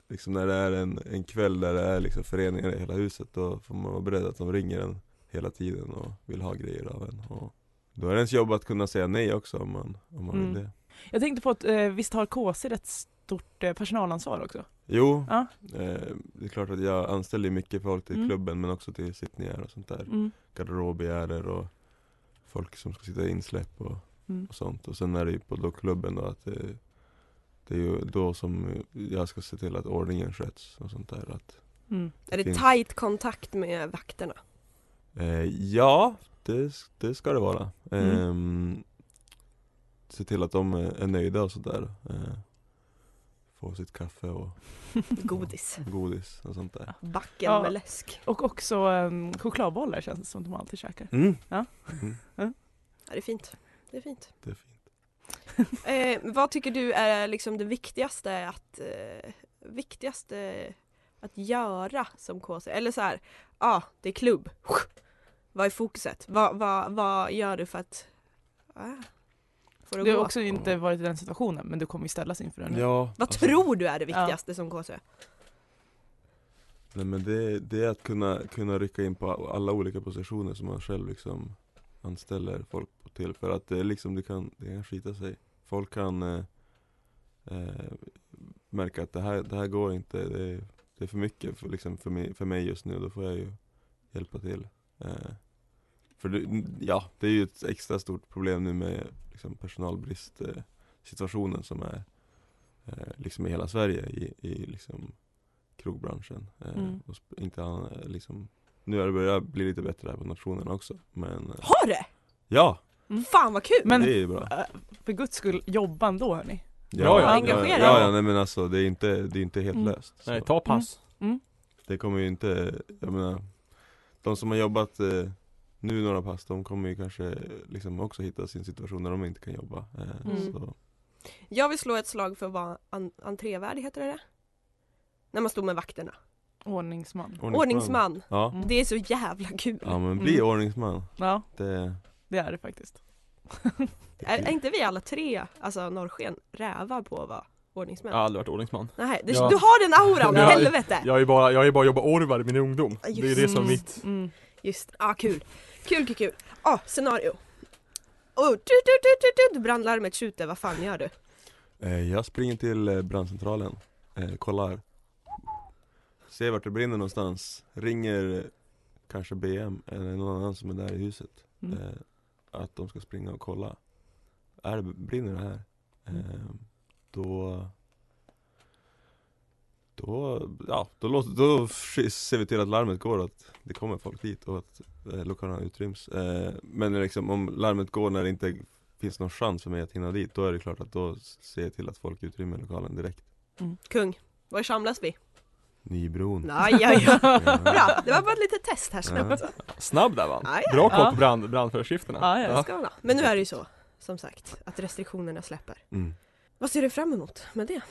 F: Liksom när det är en, en kväll där det är liksom föreningar i hela huset då får man vara beredd att de ringer en hela tiden och vill ha grejer av en och Då är det ens jobb att kunna säga nej också om man, om man
C: Mm.
F: vill det
C: Jag tänkte på att eh, visst har KC rätt stort eh, personalansvar också?
F: Jo,
C: Ja.
F: eh, det är klart att jag anställer ju mycket folk till
C: Mm.
F: klubben men också till sittningar och sånt där
C: Mm.
F: garderobegärder och folk som ska sitta i insläpp och,
C: Mm.
F: och sånt. Och sen är det ju på då klubben då att det, det är ju då som jag ska se till att ordningen sköts och sånt där. Att,
C: Mm.
D: Är det
F: Finns.
D: tight kontakt med vakterna?
F: eh, ja, det, s- det ska det vara.
C: Mm.
F: Ehm, se till att de är, är nöjda och sådär. Eh, få sitt kaffe och
D: Godis.
F: godis och sånt där.
D: Backen
C: Ja.
D: med läsk.
C: Och också eh, chokladbollar känns det som de alltid käkar.
F: Mm.
C: Ja.
F: Mm,
D: Ja, det är fint. Det är fint.
F: det är fint.
D: Eh, vad tycker du är liksom det viktigaste att, eh, viktigaste att göra som KC? Eller så här, ja det är klubb. Vad är fokuset? Vad, vad, vad gör du för att ah, få det att
C: Du
D: gå?
C: har också inte varit i den situationen men du kommer ju ställas inför den.
F: Ja,
D: Vad tror du är det viktigaste som KC?
F: Nej men det, det är att kunna, kunna rycka in på alla olika positioner som man själv liksom anställer folk på till för att det är liksom, det kan, det kan skita sig. Folk kan eh, eh, märka att det här, det här går inte, det är, det är för mycket för, liksom, för, mig, för mig just nu, då får jag ju hjälpa till. Eh, för det, ja, det är ju ett extra stort problem nu med liksom, personalbrist eh, situationen som är eh, liksom i hela Sverige i, i liksom krogbranschen. Eh,
C: Mm.
F: och sp- inte, an- eh, liksom, nu har det börjat bli lite bättre här på nationerna också men eh,
D: Har det?
F: ja,
D: Fan vad kul!
C: Men
F: det är ju bra.
C: eh, för guds skull, jobba ändå hörni.
B: ja,
F: ja,
D: engagera.
F: ja, ja nej, men alltså det är inte, det är inte helt
C: Mm.
F: löst.
B: Nej,
F: Så.
B: ta pass.
F: Det kommer ju inte, jag menar De som har jobbat eh, nu några pass, de kommer ju kanske eh, liksom också hitta sin situation när de inte kan jobba eh,
C: Mm.
F: så.
D: Jag vill slå ett slag för vad en- entrévärd heter det? När man står med vakterna.
C: Ordningsman.
D: Ordningsman.
F: Ja.
C: Mm.
D: Det är så jävla kul.
F: ja, men bli
C: Mm.
F: ordningsman
C: Ja,
F: det,
C: det är det faktiskt.
D: Är, är inte vi alla tre, alltså norrsken, rävar på att vara
B: Jag
D: ordningsmän?
B: har aldrig varit ordningsman.
D: Nej, det,
B: Ja.
D: du har den auran,
B: Ja.
D: helvete!
B: Jag har ju bara, jag har ju bara jobbat orvar i min ungdom.
D: Ja, just
B: det är det som
C: Mm.
B: mitt
C: Mm.
D: Just ah, kul. Kul, kul, kul. Ah, scenario. Oh, du, du, du, du, du, du, brandlarmet tjuter, vad fan gör du?
F: eh, Jag springer till eh, brandcentralen, eh, kollar Ser vart det brinner någonstans, ringer eh, kanske BM eller någon annan som är där i huset
C: Mm.
F: eh, Att de ska springa och kolla Är det, brinner det här? Eh, då då, ja, då, låter, då sk- ser vi till att larmet går att det kommer folk dit och att eh, lokalen utryms eh, Men liksom, om larmet går när det inte finns någon chans för mig att hinna dit Då är det klart att då ser jag till att folk utrymmer lokalen direkt
D: Kung, var samlas vi?
F: Nybron
D: Nej, ja, ja.
F: Ja.
D: Bra, det var bara ett litet test här snabbt. så.
B: snabb där va?
D: Ja, ja.
B: Bra koll
C: Ja.
B: på brand, brandföreskrifterna.
C: Ja, ja.
D: Det ska man ha. Men nu är det ju så, som sagt, att restriktionerna släpper.
F: Mm.
D: Vad ser du fram emot med det?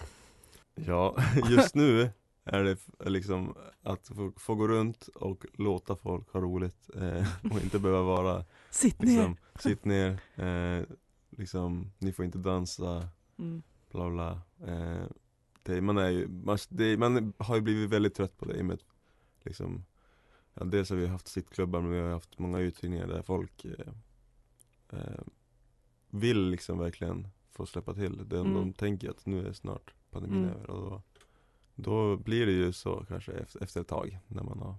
F: Ja, just nu är det f- liksom att få, få gå runt och låta folk ha roligt eh, och inte behöva vara
C: Sitt ner.
F: liksom, sitt ner, eh, liksom, ni får inte dansa,
C: Mm.
F: bla bla. Eh, det, man, är ju, man, det, man har ju blivit väldigt trött på det i och med att, liksom, ja, dels har vi haft sittklubbar men vi har haft många uthyrningar där folk eh, eh, vill liksom verkligen få släppa till. De, de
C: Mm.
F: tänker att nu är snart pandemin
C: Mm.
F: över och då, då blir det ju så kanske efter, efter ett tag när man har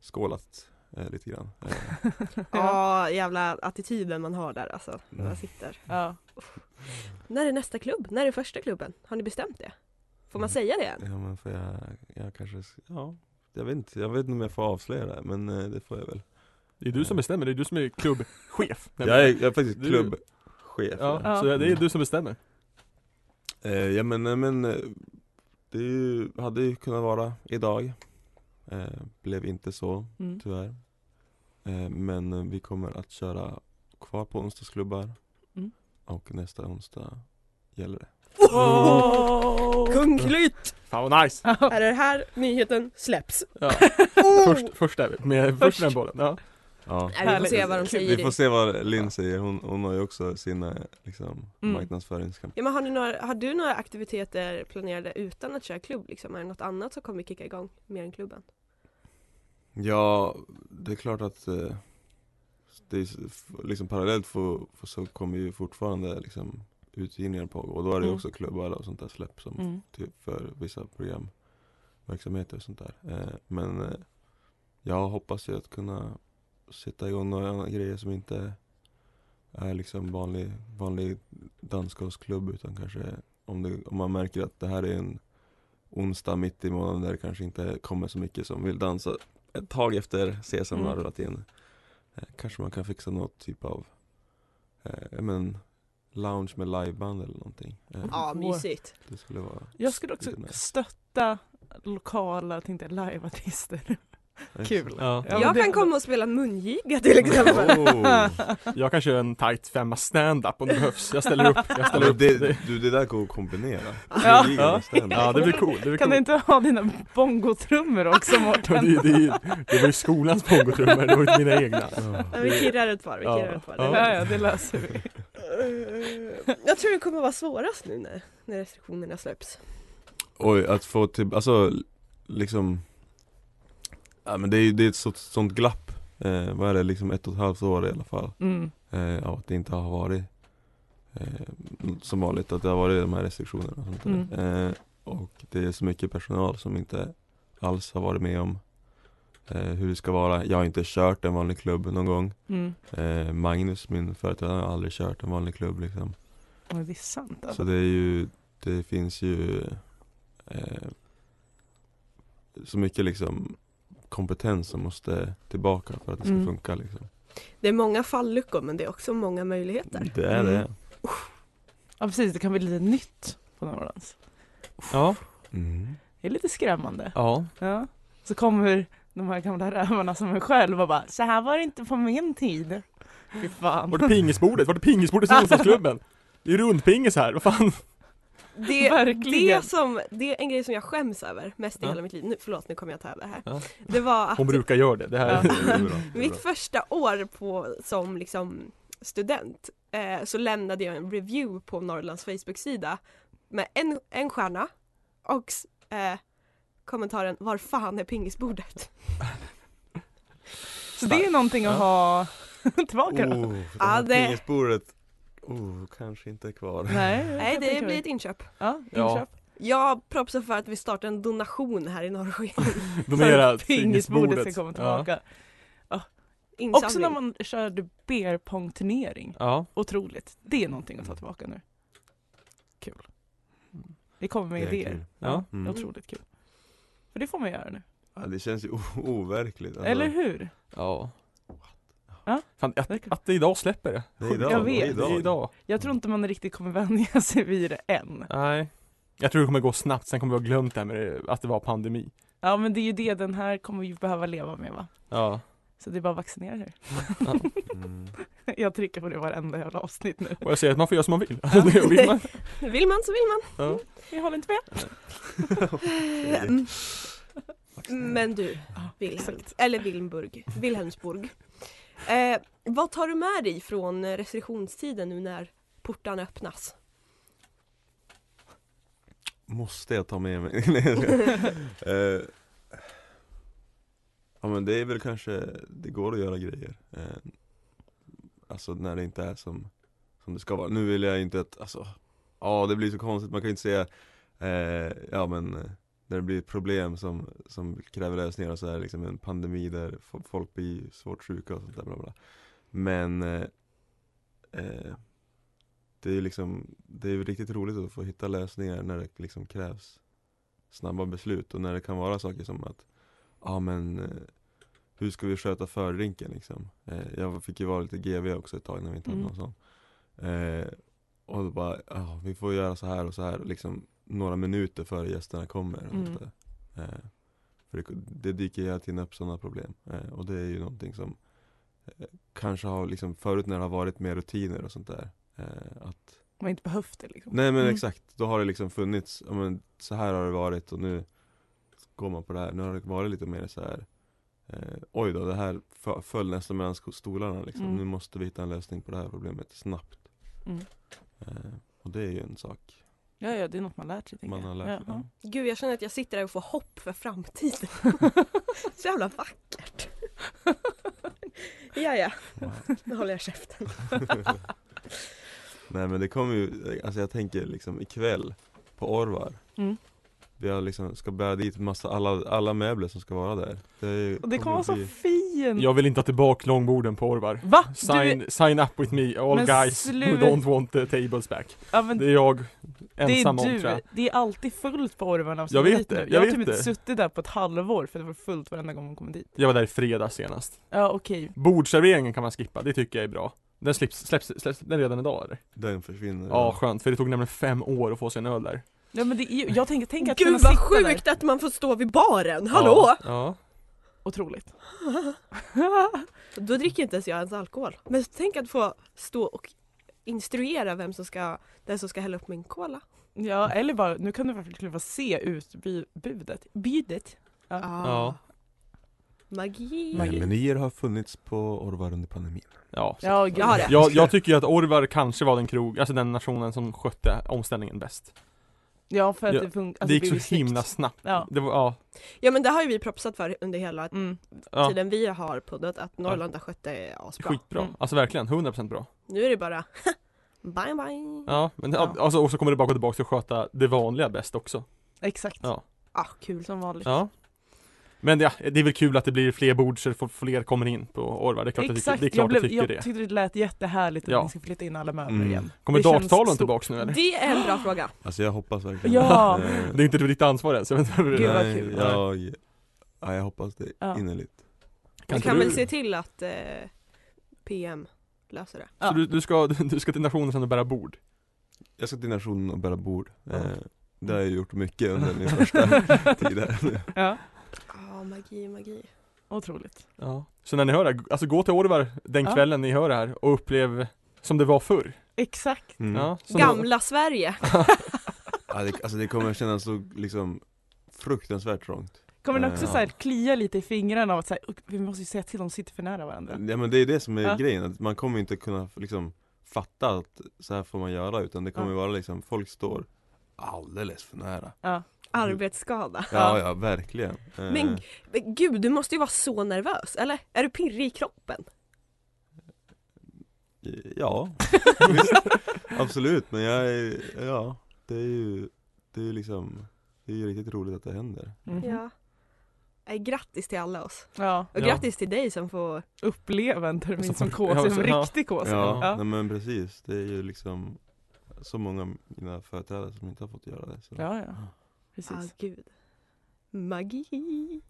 F: skålat eh, lite grann. Eh,
D: Ja, jävla attityden man har där alltså, när man
F: Mm.
D: sitter.
C: Ja.
D: När är nästa klubb? När är första klubben? Har ni bestämt det? Får man
F: Mm.
D: säga det än?
F: Ja men får jag, jag kanske, s- ja jag vet inte, jag vet inte om jag får avslöja det här, men eh, det får jag väl
B: Det är du som bestämmer, det är du som är klubbchef.
F: Jag är, jag är faktiskt
B: Du-
F: klubbchef
B: Ja,
C: Ja.
B: så det är du som bestämmer.
F: Eh, ja men, nej, men eh, det är ju, hade ju kunnat vara idag eh, Blev inte så
C: Mm.
B: Typ.
F: tyvärr eh, Men eh, vi kommer att köra kvar på onsdagsklubbar
C: Mm.
F: Och nästa onsdag gäller det
D: Kung Klytt!
B: Fan vad nice!
D: Är det här nyheten släpps?
B: Oh! Ja. Först, först är vi, med, först. med den bollen. Ja.
F: Ja.
D: Nej, vi får se vad de
C: Härligt.
D: säger.
F: Vi får se vad Linn säger, hon, hon har ju också sina liksom,
C: Mm.
F: marknadsföringskampanjer
D: Ja, men har, ni några, har du några aktiviteter planerade utan att köra klubb? Liksom? Är det något annat som kommer kicka igång mer än klubben?
F: Ja, det är klart att eh, det är, s- f- liksom parallellt får, får, så kommer ju fortfarande liksom, utgivningar pågå och då är det ju
C: Mm.
F: också klubbar och sånt där släpp som
C: Mm.
F: till, typ för vissa programverksamheter och sånt där. Eh, men eh, jag hoppas ju att kunna sätta igång några andra grejer som inte är liksom vanlig, vanlig dansgolvsklubb utan kanske om, det, om man märker att det här är en onsdag mitt i månaden där det kanske inte kommer så mycket som vill dansa ett tag efter CSN har
C: Mm.
F: rullat in. Eh, kanske man kan fixa något typ av eh, ja, men, lounge med liveband eller någonting. Eh,
D: Ja,
C: Åh.
D: mysigt.
F: det skulle vara
C: Jag skulle också
F: lite nice.
C: stötta lokala, tänkte jag, liveartister. Kul.
B: Ja.
C: Ja, men
D: jag
C: det-
D: kan komma och spela mungiga till exempel.
F: Oh.
B: Jag kan köra en tight femma stand-up om det behövs, jag ställer upp, jag ställer
F: Ja,
B: upp
F: men det, du, det där går att kombinera.
C: Ja.
F: Det är ju
B: Ja.
F: nästan-
B: Ja det blir cool, det blir
C: Kan
B: cool
C: du inte ha dina bongotrummor också
B: Men
C: Mårten?
B: det, det, det var ju skolans bongotrummor, det var inte mina egna
D: Ja, vi kirrar ett par, vi
B: Ja.
D: kirrar ett par.
C: Ja, ja, det löser vi.
D: Eh, Jag tror det kommer vara svårast nu när, när restriktionerna släpps.
F: Oj, att få till, alltså liksom Ja men det är ju det är ett sånt, sånt glapp eh, Vad är det, liksom ett och ett halvt år i alla fall
C: Mm.
F: eh, Av att det inte har varit eh, Som vanligt, att det har varit de här restriktionerna och sånt där.
C: Mm.
F: eh, Och det är så mycket personal som inte alls har varit med om eh, Hur det ska vara, jag har inte kört en vanlig klubb någon gång
C: Mm.
F: eh, Magnus, min företrädare, har aldrig kört en vanlig klubb liksom
C: Ja, det är sant
F: så
C: alltså.
F: det är ju, det finns ju eh, så mycket liksom kompetens som måste tillbaka för att det ska
C: Mm.
F: funka liksom.
D: Det är många falluckor men det är också många möjligheter.
F: Det är det.
C: Ja, precis. Det kan bli lite nytt på Norrlands.
B: Ja,
F: Mm.
C: Det är lite skrämmande.
B: ja
C: Ja. Så kommer de här gamla rävarna som är själv och bara så här var det inte på min tid. Fy
B: Vart
C: fan.
B: är pingisbordet? Vart är pingisbordet i Sundsvallsklubben? Det är ju rundpingis här, vad fan?
D: Det,
C: Verkligen.
D: det, som, det är en grej som jag skäms över mest i
B: Ja.
D: hela mitt liv. Nu, förlåt, nu kommer jag ta över här.
B: Ja.
D: Det var att
B: Hon brukar göra det, det här
C: Ja.
F: Det är bra. Det är bra.
D: mitt första år på, som liksom, student eh, så lämnade jag en review på Norrlands Facebook-sida med en, en stjärna och eh, kommentaren Var fan är pingisbordet?
C: Så det är någonting att ha tillbaka då.
F: Oh, det
D: Ja,
F: här
D: det-
F: pingisbordet, oh, kanske inte är kvar.
C: Nej, jag
D: Nej, det
C: tänker
D: blir
C: mig.
D: ett inköp.
C: Ja,
B: Ja.
C: inköp.
D: Jag propsar för att vi startar en donation här i Norrsken.
C: Så
B: Donera
C: att pingisbordet ska
B: pingisbordet
C: komma
B: ja.
C: tillbaka.
D: Insamling.
C: Också när man körde beer pong turnering.
B: ja,
C: Otroligt. Det är någonting att ta tillbaka nu. Kul. Vi kommer med
F: Det är
C: idéer.
F: kul.
B: Ja.
F: Mm.
C: Otroligt kul. För det får man göra nu.
F: Ja, det känns ju o- overkligt. alltså.
C: Eller hur?
B: ja
C: Ja.
B: Fan, att, att det idag släpper det
F: Det är idag.
C: Jag vet.
B: Det är idag
C: Jag tror inte man riktigt kommer vänja sig vid det än.
B: Nej Jag tror det kommer gå snabbt, sen kommer vi ha glömt det här med det, att det var pandemi
C: Ja men det är ju det, den här kommer vi ju behöva leva med va?
B: Ja
C: Så det är bara att vaccinera er.
F: Mm.
C: Jag trycker på det varenda jävla avsnitt nu.
B: Och jag säger att man får göra som man vill, Det vill man.
D: Vill man så vill man.
B: Ja.
C: Jag håller inte med.
D: Men du, Wilhelm,
C: exakt.
D: eller Wilhelmburg, Wilhelmsburg. Eh, vad tar du med dig från eh, restriktionstiden nu när portarna öppnas?
F: Måste jag ta med mig? Nej, jag skojar. eh, ja men det är väl kanske, det går att göra grejer eh, Alltså när det inte är som, som det ska vara. Nu vill jag inte att, alltså, ja det blir så konstigt, man kan ju inte säga eh, Ja men eh, när det blir ett problem som, som kräver lösningar och så är det liksom en pandemi där fo- folk blir svårt sjuka och sånt där bla bla. Men eh, eh, det är ju liksom, det är ju riktigt roligt att få hitta lösningar när det liksom krävs snabba beslut och när det kan vara saker som att ja men eh, hur ska vi sköta fördrinken liksom? Eh, jag fick ju vara lite GV också ett tag när vi inte hade
C: Mm.
F: någon sån. Eh, och då bara, ja vi får göra så här och så här liksom några minuter före gästerna kommer. och sånt
C: Mm.
F: där. Eh, för det, det dyker hela tiden upp sådana problem eh, och det är ju någonting som eh, kanske har liksom förut när det har varit mer rutiner och sånt där eh, att
C: Man har inte behövt det liksom.
F: Nej men
C: Mm.
F: exakt, då har det liksom funnits, ja, men, så här har det varit och nu går man på det här. Nu har det varit lite mer så här eh, Oj då, det här fö- föll nästan mellan sko- stolarna liksom.
C: Mm.
F: Nu måste vi hitta en lösning på det här problemet snabbt
C: Mm.
F: eh, Och det är ju en sak
C: Ja, ja, det är något man lärt sig. tänker
F: man har
C: jag.
F: lärt sig
C: Ja,
F: ja.
D: Gud jag känner att jag sitter här och får hopp för framtiden. Så jävla vackert. ja ja, nu håller jag käften.
F: Nej men det kommer ju, alltså jag tänker liksom ikväll på Orvar
C: ja. Mm.
F: Vi har liksom, ska bära dit massa, alla, alla möbler som ska vara där Det, är-
C: Och det kommer vara så
F: bli-
C: fint!
B: Jag vill inte att tillbaka långborden på Orvar.
C: Va?
B: Sign,
C: Du,
B: sign up with me, all
C: Men
B: guys who
C: sluta.
B: don't want the tables back.
C: ja, men
B: Det är jag,
C: det
B: ensam
C: är
B: om
C: du.
B: trä.
C: Det är alltid fullt på Orvarna. som
B: Jag
C: kommer
B: vet
C: dit
B: det,
C: nu.
B: jag
C: Jag har
B: vet
C: typ inte
B: det.
C: suttit där på ett halvår för det var fullt varenda gång man kom dit.
B: Jag var där i fredags senast.
C: Ja, okej.
B: Bordserveringen kan man skippa, det tycker jag är bra. Den slips, släpps, släpps den redan idag eller?
F: Den försvinner
B: Ja, skönt, för det tog nämligen fem år att få sig en öl där.
C: Ja, men det är, ju- jag tänker, tänk att kunna
D: Gud
C: sitta
D: vad
C: sjukt.
D: sjukt
C: där.
D: att man får stå vid baren, hallå!
B: Ja, ja.
C: Otroligt.
D: Då dricker inte ens jag ens alkohol. Men tänk att få stå och instruera vem som ska, den som ska hälla upp min cola.
C: Ja, eller bara, nu kan du verkligen få se utbudet. Budet. Ja.
B: Ja.
D: Magi.
C: Magi.
F: Menyer har funnits på Orvar under pandemin
B: ja. så-
C: Ja, gud.
D: Jag har det.
B: Jag, jag tycker ju att Orvar kanske var den krog, alltså den nationen som skötte omställningen bäst.
C: Ja, för att
B: Ja,
C: Alltså, det funkar.
B: det gick så himla snabbt.
C: Ja.
B: Det var, ja,
D: Ja men det har ju vi propsat för under hela
C: Mm.
B: ja
D: tiden vi har poddat att Norrland har skött det asbra.
B: skitbra.
C: Mm.
B: Alltså verkligen, 100% bra.
D: Nu är det bara bye bye.
B: Ja, men
C: Ja.
B: Alltså, och så kommer det bara gå tillbaka till att sköta det vanliga bäst också.
C: Exakt.
B: Ja.
D: Ah, kul.
C: Som vanligt.
B: Ja. Men ja, det är väl kul att det blir fler bord så får- fler kommer in på Orvar. Det är klart
C: Exakt,
B: att det är klart
C: jag,
B: jag
C: blev,
B: tycker
C: jag
B: det.
C: tyckte det lät jättehärligt att
B: Ja.
C: ni ska flytta in alla möbler
F: Mm.
C: igen.
B: Kommer
C: det känns
B: darttavlan
C: stort.
B: tillbaks nu eller?
D: Det är en bra fråga.
F: Alltså jag hoppas verkligen
C: Ja.
F: Eh,
B: Det är inte ditt ansvar ens. Jag vet inte hur det
C: Gud, vad
B: är.
F: Nej,
C: kul.
F: Jag, ja, jag hoppas det
C: Ja.
F: innerligt.
D: Vi
B: inte
D: kan
B: du-
D: väl se till att eh, PM löser det.
B: Så du, du, ska, du ska till nationen sen och bära bord?
F: Jag ska till nationen och bära bord. Eh,
B: Ja.
F: det har jag gjort mycket under min första tid här.
C: Ja,
D: Ja, magi, magi.
C: otroligt.
B: Ja. Så när ni hör det här, alltså gå till Orvar den
C: Ja.
B: kvällen ni hör det här och upplev som det var förr.
C: Exakt.
F: Mm.
B: Ja, som det,
D: Gamla Sverige.
F: Ja, det, alltså det kommer kännas så liksom fruktansvärt trångt.
C: Kommer den också
F: Ja.
C: så här klia lite i fingrarna av att så här, "Uck, vi måste ju säga till, de sitter för nära varandra.
B: Mm.
F: Ja men det är det som är
C: Ja.
F: grejen, att man kommer inte kunna liksom fatta att så här får man göra utan det kommer
C: Ja.
F: vara liksom, folk står alldeles för nära.
C: Ja.
D: Arbetsskada.
C: Ja.
F: Ja, ja, verkligen. Eh,
D: Men- Men gud, du måste ju vara så nervös, eller? Är du pirrig i kroppen?
F: Ja, visst. absolut. Men jag är, ja, det är ju, det är ju liksom, det är ju riktigt roligt att det händer.
C: Mhm.
D: Eh, grattis till alla oss.
C: ja.
D: Och
B: Ja.
D: grattis till dig som får...
C: Uppleva en termin
B: Som-
C: som
B: ja,
C: KC, som
B: ja.
C: riktig KC.
F: Ja,
C: Ja.
F: Nej, men precis. Det är ju liksom så många av mina företrädare som inte har fått göra det. Så.
C: Ja, ja. Precis.
D: Ah, gud. Magi.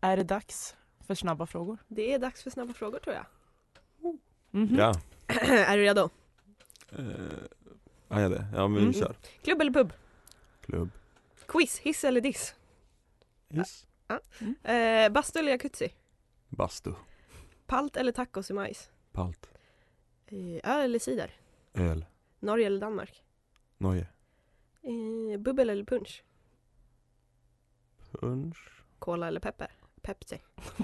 C: Är det dags för snabba frågor?
D: Det är dags för snabba frågor tror jag.
C: Mhm.
F: Ja.
D: är du redo?
F: Eh, ja, ja, det. Ja, men
C: Mm.
F: vi kör.
D: Klubb eller pub?
F: Klubb.
D: Quiz, hiss eller diss?
F: Hiss.
D: Eh, bastu eller jacuzzi?
F: Bastu.
D: Palt eller tacos i majs?
F: Palt.
D: Eh, öl eller cider?
F: Öl.
D: Norge eller Danmark?
F: Noje.
D: Eh, bubbel eller punch?
F: Punch.
D: Cola eller pepper? Pepsi.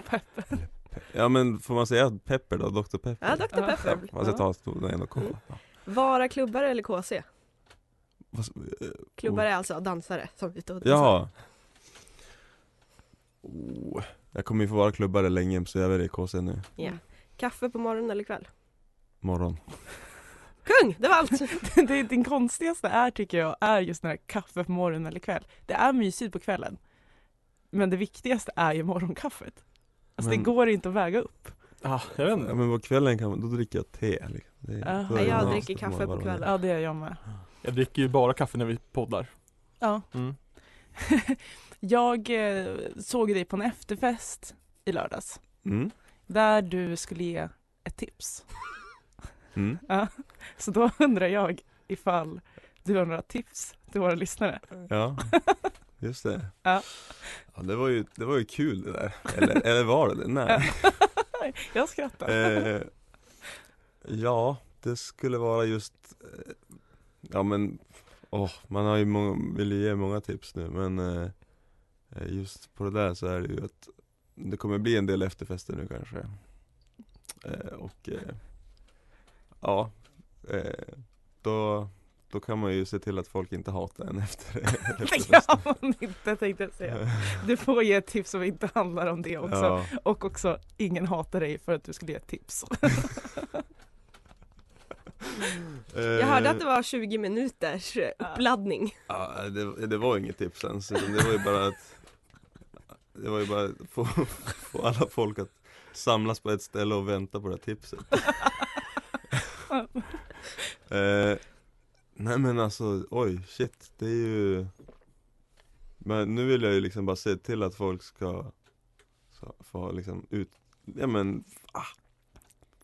C: Peppe.
F: Ja, men får man säga pepper då? Dr. Pepper?
D: Ja, Dr.
C: Ja.
D: Pepper. Mm.
F: Ja, fast jag tar stor- nej, en och kolla. Ja.
D: Vara klubbar eller KC?
F: Fast, eh,
D: Klubbar är alltså dansare som är ute och dansar.
F: Ja. Oh. Jag kommer ju få vara klubbare länge så jag väljer KC nu.
D: Ja. Kaffe på morgonen eller kväll?
F: Morgon.
D: Kung, det var allt!
C: det är din konstigaste är tycker jag är just när det är kaffe på morgonen eller kväll. Det är mysigt på kvällen. Men det viktigaste är ju morgonkaffet. Alltså
F: Men-
C: det går inte att väga upp.
B: ah, jag vet
F: Ja,
B: inte.
F: men på kvällen kan man, då dricker jag te. Liksom. Det,
C: Ja.
F: då är det
D: Jag
F: nice.
D: dricker
F: Då får man
D: kaffe på
F: bara-
D: kvällen.
C: Ja det är jag med.
B: Jag dricker ju bara kaffe när vi poddar.
C: Ja.
B: Mm.
C: jag eh, såg dig på en efterfest i lördags.
F: Mm.
C: Där du skulle ge ett tips.
F: Mm.
C: Så då undrar jag ifall du har några tips till våra lyssnare.
D: Mm.
F: Ja, just det.
C: Ja.
F: Ja, det, var ju, det var ju kul det där. Eller, eller var det det? Nej.
C: Jag skrattar.
F: Eh, ja, det skulle vara just, eh, ja men, åh, man har ju många, vill ju ge många tips nu men eh, eh, just på det där så är det ju att det kommer bli en del efterfester nu kanske. Eh, och eh, ja, eh, då, då kan man ju se till att folk inte hatar en efter
C: Det
F: efterfesten.
C: gör man inte tänkte jag säga. Du får ge ett tips som inte handlar om det också.
F: Ja,
C: Och också, ingen hatar dig för att du skulle ge ett tips.
D: Jag hörde att det var 20 minuters eh,
C: Ja.
D: uppladdning.
F: Ja, det, det var inget tips ens, utan det var ju bara att Det var ju bara att få, få alla folk att samlas på ett ställe och vänta på det här tipset eh, Nej men alltså, oj, shit, det är ju Men nu vill jag ju liksom bara se till att folk ska, ska få liksom ut, ja men ah.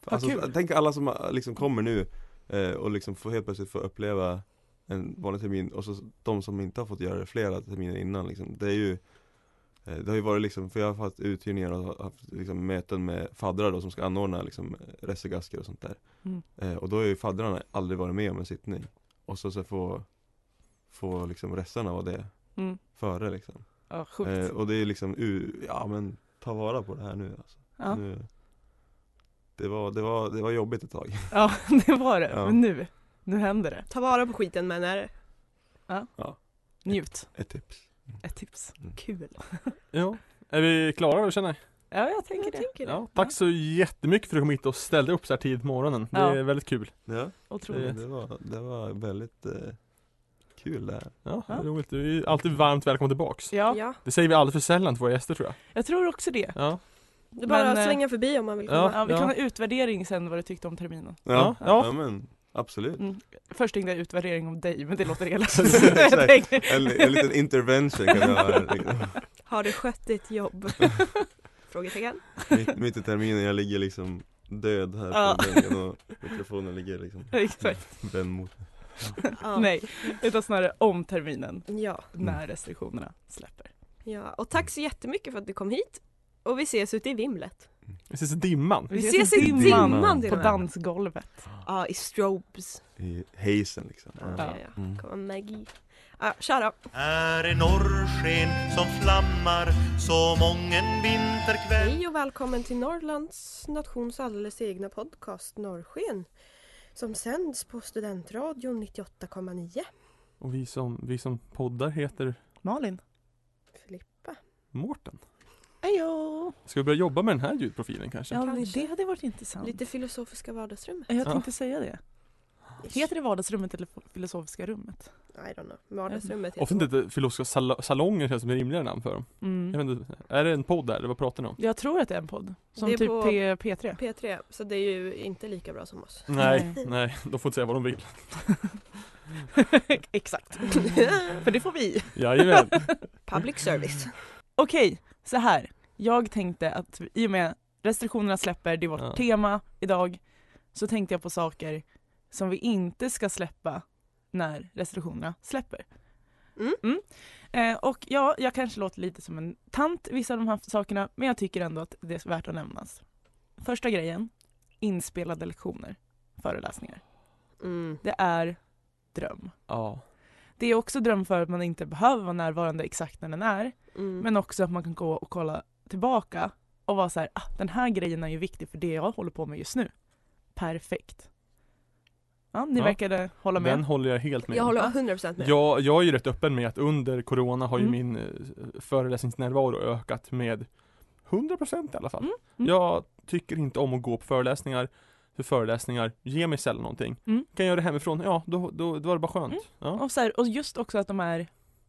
F: Alltså,
C: kul.
F: tänk alla som ah, liksom kommer nu eh, och liksom får helt plötsligt få uppleva en vanlig termin och så de som inte har fått göra det flera terminer innan liksom. Det är ju eh, det har ju varit liksom, för jag har haft uthyrningar och haft liksom möten med faddrar då som ska anordna liksom resegasker och sånt där.
C: Mm.
F: Eh, och då har ju faddrarna aldrig varit med om en sittning. Och så, så få, få liksom resterna vara det
C: Mm.
F: före liksom.
C: Ja, sjukt.
F: Eh, och det är liksom, u- ja men ta vara på det här nu alltså.
C: ja.
F: Nu, det, var, det, var, det var jobbigt ett tag.
C: ja, det var det.
F: Ja.
C: Men nu, nu händer det.
D: Ta vara på skiten men eh, är
C: Njut.
F: Ett tips.
C: Ett tips.
F: Mm.
D: kul.
B: Ja, är vi klara då känner jag?
C: Ja, jag tänker
D: Jag
C: det.
D: tänker det.
B: Ja, tack så jättemycket för att du kom hit och ställde upp så här tidigt på morgonen. Det
C: Ja.
B: är väldigt kul.
F: Ja,
C: Otroligt.
F: det, det, var, det var väldigt eh, kul det här.
B: Ja, det
C: Ja.
B: är roligt. Du är alltid varmt välkommen tillbaks.
C: Ja,
D: Ja.
B: Det säger vi alldeles för sällan till våra gäster tror jag.
C: jag tror också det.
B: Ja,
D: Det är bara
C: Men, eh,
D: att svänga förbi om man vill
B: ja.
D: komma.
C: Ja, vi kan ha utvärdering sen vad du tyckte om terminen.
B: Ja, ja.
F: ja men absolut.
C: Mm. Först tänkte jag utvärdering om dig, men det låter elakt.
F: Exakt.
C: Jag tänker-
F: En, en liten intervention kan jag göra. liksom.
D: Har du skött ditt jobb? Frågetecken.
F: Mitt, mitt i terminen, jag ligger liksom död här
C: Ja.
F: på bänken och mikrofonen ligger liksom
C: Exakt.
F: vänd mot
D: Ja.
C: Nej, utan snarare om terminen,
D: Ja.
F: Mm.
C: när restriktionerna släpper.
D: ja. Och tack så jättemycket för att du kom hit. Och vi ses ute i vimlet.
B: vi ses i dimman.
D: Vi ses i
F: dimman.
D: dimman till
C: På
D: och med.
C: dansgolvet.
D: Ja, i strobes.
F: i hazen liksom.
D: Ja,
F: Ja.
D: ja.
C: Ja.
D: ja.
F: Mm.
D: Kommer magi. Ja, tja då.
G: Här är norrsken som flammar så mången vinterkväll
D: Hej och välkommen till Norrlands nations alldeles egna podcast Norrsken. Som sänds på Studentradion 98,9.
B: Och vi som, vi som poddar heter
C: Malin.
D: Filippa.
B: Mårten.
C: Hejo!
B: Ska vi börja jobba med den här ljudprofilen kanske?
C: Ja,
D: Kanske.
C: det hade varit intressant.
D: Lite filosofiska vardagsrummet.
C: Jag
B: Ja.
C: tänkte säga det. Heter det vardagsrummet eller filosofiska rummet?
D: I don't know. Vardagsrummet
B: Ofta
D: heter det.
B: inte filosofiska sal- salonger känns som ett rimligare namn för dem.
C: Mm.
D: Mm.
B: Jag vet inte, är det en podd där eller vad pratar ni om?
C: Jag tror att det är en podd. Som
D: Det är
C: typ
D: på-
C: P- P3.
D: P3, så det är ju inte lika bra som oss.
B: Nej, nej, de får inte säga vad de vill.
C: Exakt. För det får vi.
B: Jajamän.
D: Public service.
C: Okej, så här. Jag tänkte att i och med restriktionerna släpper, det är vårt
B: Ja.
C: tema idag, så tänkte jag på saker som vi inte ska släppa när restriktionerna släpper.
D: Mm.
C: Eh, och ja, jag kanske låter lite som en tant vissa av de här sakerna, men jag tycker ändå att det är värt att nämnas. Första grejen, inspelade lektioner, föreläsningar.
D: Mm.
C: Det är dröm.
B: Ja.
C: Det är också dröm för att man inte behöver vara närvarande exakt när den är,
D: Mm.
C: men också att man kan gå och kolla tillbaka och vara så här, ah, den här grejen är ju viktig för det jag håller på med just nu. Perfekt. Ja, ni
B: Ja.
C: verkade hålla med.
B: Den håller jag helt med
D: jag
B: om.
D: håller 100% med.
B: Jag, jag är ju rätt öppen med att under corona har ju
C: Mm.
B: min eh, föreläsningsnärvaro ökat med 100% i alla fall.
C: Mm, mm.
B: Jag tycker inte om att gå på föreläsningar, för föreläsningar ger mig sällan någonting.
C: Mm.
B: Kan jag göra det hemifrån, ja då, då, då var det bara skönt.
C: Mm.
B: Ja.
C: Och, så här, och just också att de är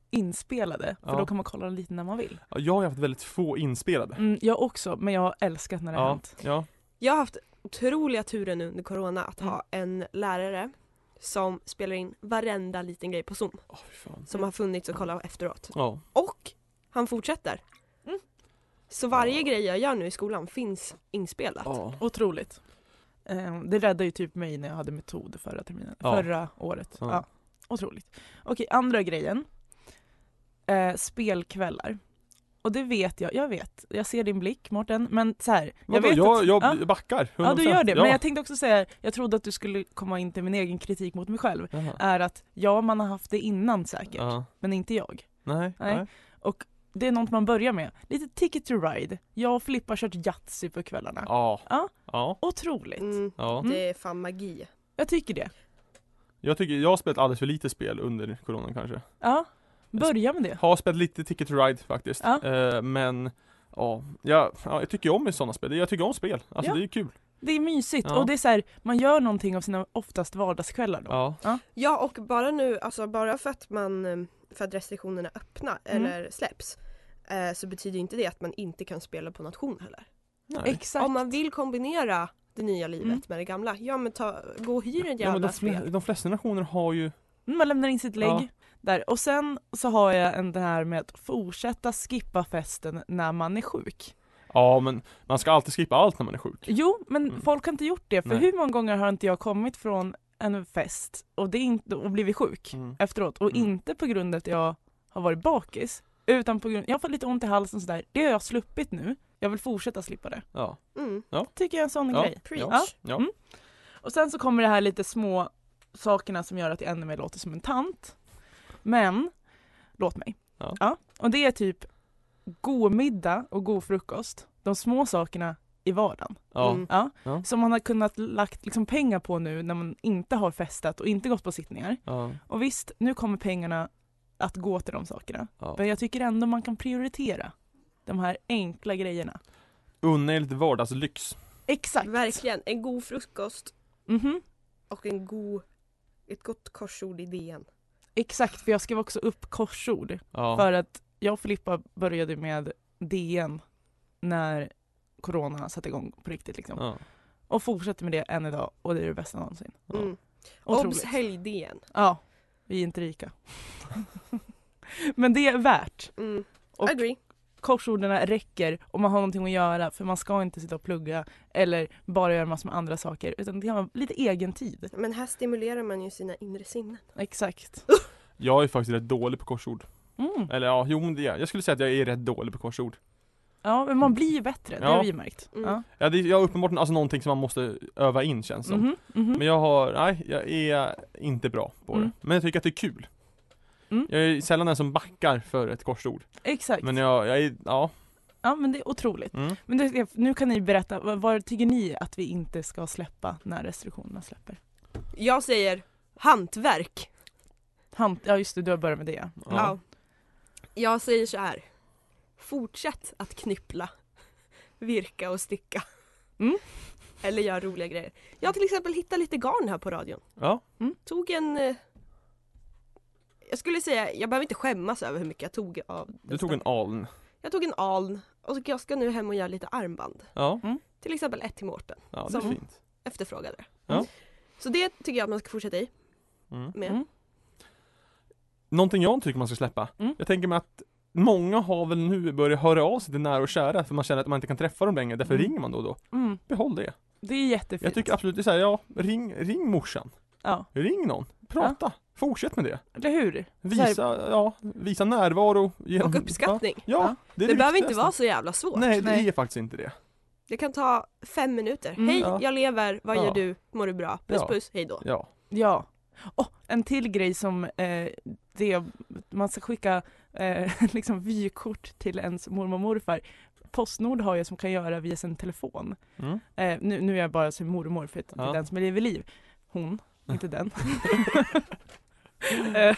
C: inspelade, för
B: Ja.
C: då kan man kolla dem lite när man vill.
B: Ja, Jag har ju haft väldigt få inspelade.
C: Mm, jag också, men jag har älskat när det har
B: Ja,
C: hänt.
B: ja.
D: Jag har haft otroliga turen under corona att ha en lärare som spelar in varenda liten grej på zoom
B: Åh, fy fan.
D: som har funnits att kolla efteråt.
B: Ja.
D: Och han fortsätter.
C: Mm.
D: Så varje
B: Ja.
D: grej jag gör nu i skolan finns inspelat.
B: Ja.
C: Otroligt. Eh, Det räddade ju typ mig när jag hade metod förra terminen,
B: Ja.
C: förra året.
B: Ja.
C: Ja. Otroligt. Okej, andra grejen. Eh, spelkvällar. Och det vet jag, jag vet. Jag ser din blick Mårten, men så här.
B: Jag,
C: vet
B: jag,
C: att-
B: jag
C: ja.
B: backar. 100%.
C: ja, du gör det.
B: Ja.
C: Men jag tänkte också säga, jag trodde att du skulle komma in till min egen kritik mot mig själv.
B: Jaha.
C: Är att, ja man har haft det innan säkert,
B: Ja.
C: men inte jag.
B: Nej,
C: Nej.
B: nej.
C: Och det är något man börjar med. Lite Ticket to Ride. Jag och Filippa har kört Yatzy på kvällarna.
B: Ja.
C: Ja.
B: Ja.
C: Otroligt.
D: Mm,
B: ja.
D: Det är fan magi.
C: Jag tycker det.
B: Jag tycker jag har spelat alldeles för lite spel under coronan kanske.
C: Ja. Börja med det.
B: Har spelat lite Ticket to Ride faktiskt.
C: Ja.
B: Eh, men ja, jag, ja, jag tycker ju om sådana spel. Jag tycker om spel. Alltså
C: Ja.
B: det är kul.
C: Det är mysigt
B: Ja.
C: och det är så här, man gör någonting av sina oftast vardagskvällar då.
B: Ja.
D: Ja och bara nu, alltså bara för att man eh, för att restriktionerna öppna
C: Mm.
D: eller släpps eh, så betyder inte det att man inte kan spela på nation heller.
B: Nej.
C: Exakt.
D: Om man vill kombinera det nya livet
C: Mm.
D: med det gamla, ja men ta, gå och hyr ett
B: Ja, men
D: jävla
B: de, fle-
D: spel.
B: de flesta nationer har ju
C: Mm, Man lämnar in sitt lägg
B: Ja.
C: där. Och sen så har jag en det här med att fortsätta skippa festen när man är sjuk.
B: Ja men man ska alltid skippa allt när man är sjuk.
C: Jo, men
B: Mm.
C: folk har inte gjort det. För
B: Nej.
C: hur många gånger har inte jag kommit från en fest och, det är inte, och blivit sjuk
B: Mm.
C: efteråt? Och
B: Mm.
C: inte på grund av att jag har varit bakis, utan på grund jag har fått lite ont i halsen och sådär. Det har jag sluppit nu. Jag vill fortsätta slippa det.
B: Ja.
D: Mm.
C: Tycker jag är en sån
B: Ja.
C: grej.
D: Preach.
C: Ja.
B: Ja.
C: Mm. Och sen så kommer det här lite små sakerna som gör att jag ännu mer låter som en tant. Men, låt mig.
B: Ja.
C: Och det är typ god middag och god frukost. De små sakerna i vardagen.
B: Ja.
D: Mm.
C: Ja.
B: Ja.
C: Som man har kunnat lagt liksom pengar på nu när man inte har festat och inte gått på sittningar.
B: Ja.
C: Och visst, nu kommer pengarna att gå till de sakerna.
B: Ja.
C: Men jag tycker ändå man kan prioritera de här enkla grejerna.
B: Unna er lite vardagslyx.
C: Exakt.
D: Verkligen, en god frukost
C: Mhm.
D: och en god, ett gott korsord i DN.
C: Exakt, för jag skrev också upp korsord.
B: Ja.
C: För att jag och Filippa började med DN när corona satte igång på riktigt liksom.
B: Ja.
C: Och fortsätter med det än idag och det är det bästa någonsin.
B: Ja.
D: Mm. Obs
C: Otroligt.
D: helg-DN.
C: Ja, vi är inte rika. Men det är värt.
D: Mm.
C: Och-
D: Agree.
C: Korsorden räcker om man har någonting att göra för man ska inte sitta och plugga eller bara göra massor med andra saker utan det kan vara lite egen tid.
D: Men här stimulerar man ju sina inre sinnen.
C: Exakt.
B: Jag är faktiskt rätt dålig på korsord.
C: Mm.
B: Eller ja, jo men det är jag. Jag skulle säga att jag är rätt dålig på korsord.
C: Ja, men man blir ju bättre, det
B: Ja.
C: har vi ju märkt.
D: Mm.
C: Ja.
B: Ja, det är, jag har uppenbarligen alltså någonting som man måste öva in känns som.
C: Mhm, mhm.
B: Men jag har, nej jag är inte bra på det.
C: Mm.
B: Men jag tycker att det är kul.
C: Mm.
B: Jag är sällan den som backar för ett korsord.
C: Exakt.
B: Men jag, jag är, ja.
C: Ja men det är otroligt.
B: Mm.
C: Men det, nu kan ni berätta, vad, vad tycker ni att vi inte ska släppa när restriktionerna släpper?
D: Jag säger hantverk.
C: Han, ja just det, du har börjat med det.
B: Ja.
D: Ja. Jag säger så här. Fortsätt att knyppla, virka och sticka.
C: Mm.
D: Eller göra roliga grejer. Jag har till exempel hittat lite garn här på radion.
B: Ja.
D: Tog en... eh, Jag skulle säga, jag behöver inte skämmas över hur mycket jag tog av
B: Du tog en aln.
D: Jag tog en aln och så jag ska nu hem och göra lite armband.
B: Ja.
D: Till exempel ett till Mårten.
B: Ja, det är
D: Som-
B: fint.
D: Efterfrågade det.
B: Ja.
D: Så det tycker jag att man ska fortsätta i
B: Mm.
D: med.
C: Mm.
B: Någonting jag tycker man ska släppa.
C: Mm.
B: Jag tänker mig att många har väl nu börjat höra av sig till nära och kära för man känner att man inte kan träffa dem längre. Därför
C: Mm.
B: ringer man då och då.
C: Mm,
B: Behåll det.
C: det är jättefint.
B: Jag tycker absolut, det är så här, ja, ring, ring morsan.
C: Ja,
B: Ring någon. Prata. Fortsätt med det.
C: eller hur? Så
B: Visa, ja, visa närvaro. Genom,
D: Och uppskattning.
B: Ja, ja, det är
D: Det behöver inte
B: viktigaste.
D: vara så jävla svårt.
B: Nej, det
C: Nej.
B: är faktiskt inte det.
D: Det kan ta fem minuter.
C: Mm.
D: Hej,
B: Ja.
D: jag lever, vad
B: Ja.
D: gör du, mår du bra, puss
B: Ja.
D: puss, hej då.
B: Ja.
C: Ja. Oh, en till grej som eh, det, man ska skicka eh, liksom vykort till ens mormor och morfar. Postnord har jag som kan göra via sin telefon.
B: Mm.
C: Eh, nu, nu är jag bara sin mormor för att det är
B: Ja.
C: den som är liv i liv. Hon, inte den. Eh,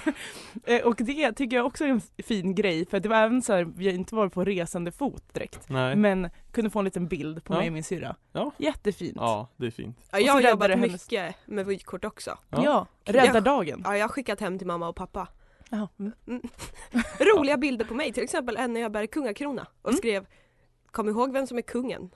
C: eh, och det tycker jag också är en fin grej för det var även så här, vi har inte varit på resande fot direkt.
B: Nej.
C: Men kunde få en liten bild på
B: Ja.
C: mig och min syrra.
B: Ja.
C: Jättefint.
B: Ja, det är fint.
D: Ja,
C: Och
D: jag
C: så
D: har
C: räddar
D: jobbat
C: det hennes-
D: mycket med vykort också.
B: Ja.
C: Ja. rädda
D: Ja.
C: dagen.
D: Ja, jag har skickat hem till mamma och pappa.
C: Jaha. Mm.
D: Roliga bilder på mig, till exempel en när jag bär kungakrona och
C: Mm.
D: skrev Kom ihåg vem som är kungen.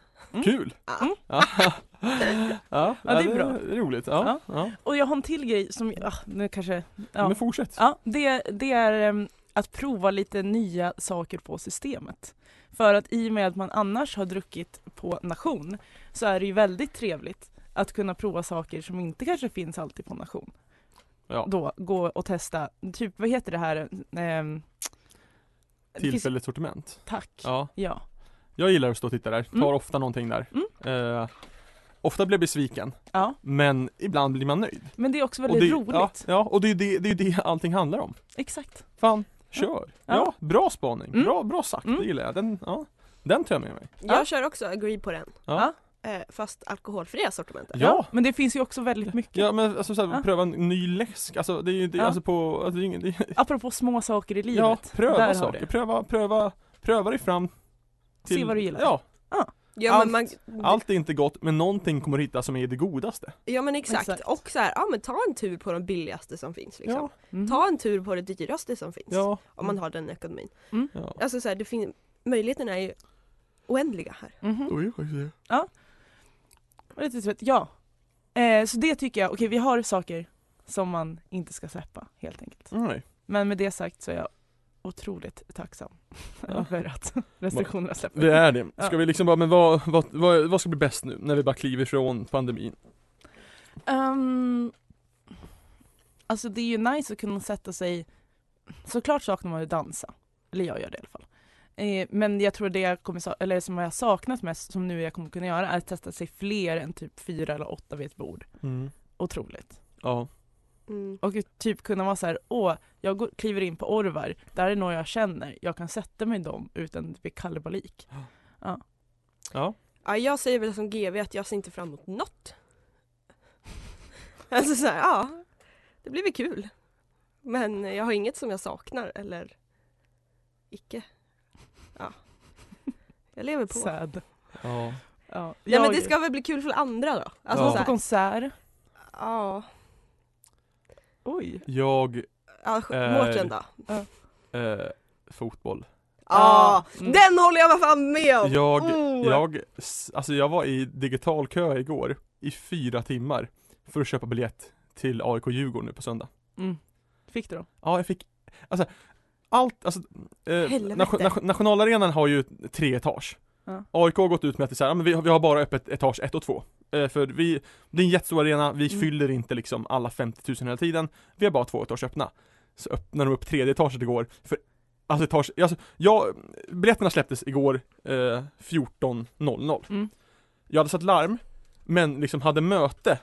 B: Kul!
D: Ah.
B: Ja. ja,
C: Mm. det är bra.
B: Roligt. Ja, ja.
C: Och jag har en till grej som, ah, nu kanske, ja.
B: Men fortsätt.
C: Ja, det, det är em, att prova lite nya saker på systemet. För att i och med att man annars har druckit på nation så är det ju väldigt trevligt att kunna prova saker som inte kanske finns alltid på nation.
B: Ja.
C: Då gå och testa, typ vad heter det här? Ehm, det finns-
B: Tillfälligt sortiment.
C: Tack. Ja.
B: Ja. Jag gillar att stå och titta där. Tar
C: Mm.
B: ofta någonting där.
C: Mm.
B: Eh, ofta blir jag besviken,
C: ja.
B: men ibland blir man nöjd.
C: Men det är också
B: och
C: väldigt
B: det,
C: roligt.
B: Ja, ja, och det är ju det, det, är ju det allting handlar om.
C: Exakt.
B: Fan, Kör!
C: Ja.
B: Ja, bra spaning.
C: Mm.
B: Bra, bra sagt,
C: Mm.
B: det gillar jag. Den, ja. den tar jag med mig.
D: Jag
C: Ja.
D: kör också agree på den.
B: Ja.
D: Eh, fast alkoholfria sortimentet.
B: Ja!
C: Men det finns ju också väldigt mycket.
B: Ja men alltså såhär,
C: Ja.
B: pröva en ny läsk, alltså det är ju, det, är-
C: Ja.
B: alltså på, alltså, det är ingen, det är,
C: Apropå små saker i livet.
B: ja
C: Där har
B: pröva
C: du
B: saker,
C: det.
B: pröva, pröva, pröva dig fram till,
C: Se vad du gillar. Mm.
B: Ja,
D: Ja,
B: Allt-
D: men man,
B: allt är inte gott men någonting kommer du hitta som är det godaste.
D: ja men exakt.
C: Exakt.
D: Och så här, ja men ta en tur på de billigaste som finns liksom.
B: Ja,
C: Mm.
D: Ta en tur på det dyraste som finns.
B: ja,
D: Om man har den ekonomin.
B: ja.
D: Alltså så här, det finns, möjligheterna är ju oändliga här.
C: Mhm.
F: Oj, oj, oj.
C: Och Lite svett, ja. Eh, så det tycker jag, okej vi har saker som man inte ska släppa helt enkelt.
B: Nej.
C: Men med det sagt så är jag otroligt tacksam
B: Ja.
C: för att restriktionerna släpper.
B: Det är det.
C: Ja.
B: Ska vi liksom bara, men vad, vad, vad, vad ska bli bäst nu när vi bara kliver från pandemin?
C: Ehm, alltså det är ju nice att kunna sätta sig, såklart saknar man ju att dansa, eller jag gör det i alla fall. Eh, men jag tror det jag kommer, sa- eller som jag har saknat mest, som nu jag kommer kunna göra, är att testa sig fler än typ fyra eller åtta vid ett bord.
B: Mm.
C: Otroligt.
B: Ja.
D: Mm.
C: Och typ kunna vara så här, åh, jag går, kliver in på Orvar, där är några jag känner, jag kan sätta mig i dem utan att det blir kalabalik.
B: Ja.
D: Ja, jag säger väl som GV att jag ser inte fram emot något. alltså så här, ja. Det blir väl kul. Men jag har inget som jag saknar eller icke. Ja. Jag lever på.
C: Sad.
B: ja.
C: Ja,
D: Nej men
C: jag-
D: det ska väl bli kul för andra då? Alltså
C: gå
B: Ja.
D: så
C: på
D: här,
C: konsert.
D: ja.
C: Oj.
B: Jag,
D: ja sk-
B: Eh,
D: Mårten då?
B: eh, fotboll.
D: Ja,
C: Mm.
D: den håller jag fan med om!
B: Jag,
D: Oh.
B: jag, s- alltså jag var i digital kö igår i fyra timmar för att köpa biljett till AIK Djurgården nu på söndag.
C: Mm. Fick du dem?
B: Ja, jag fick, alltså allt, alltså eh,
D: Helvete.
B: nation, nation, nationalarenan har ju tre etage.
C: Ja.
B: AIK har gått ut med att det är så här, "Ja, men vi, har- vi har bara öppet etage ett och två. Eh, för vi, det är en jättestor arena, vi
C: Mm.
B: fyller inte liksom alla 50 000 hela tiden. Vi har bara två etage öppna. Så öppnade de upp tredje etaget igår, för alltså etage, alltså jag, biljetterna släpptes igår eh, 14.00.
C: Mm.
B: Jag hade satt larm, men liksom hade möte,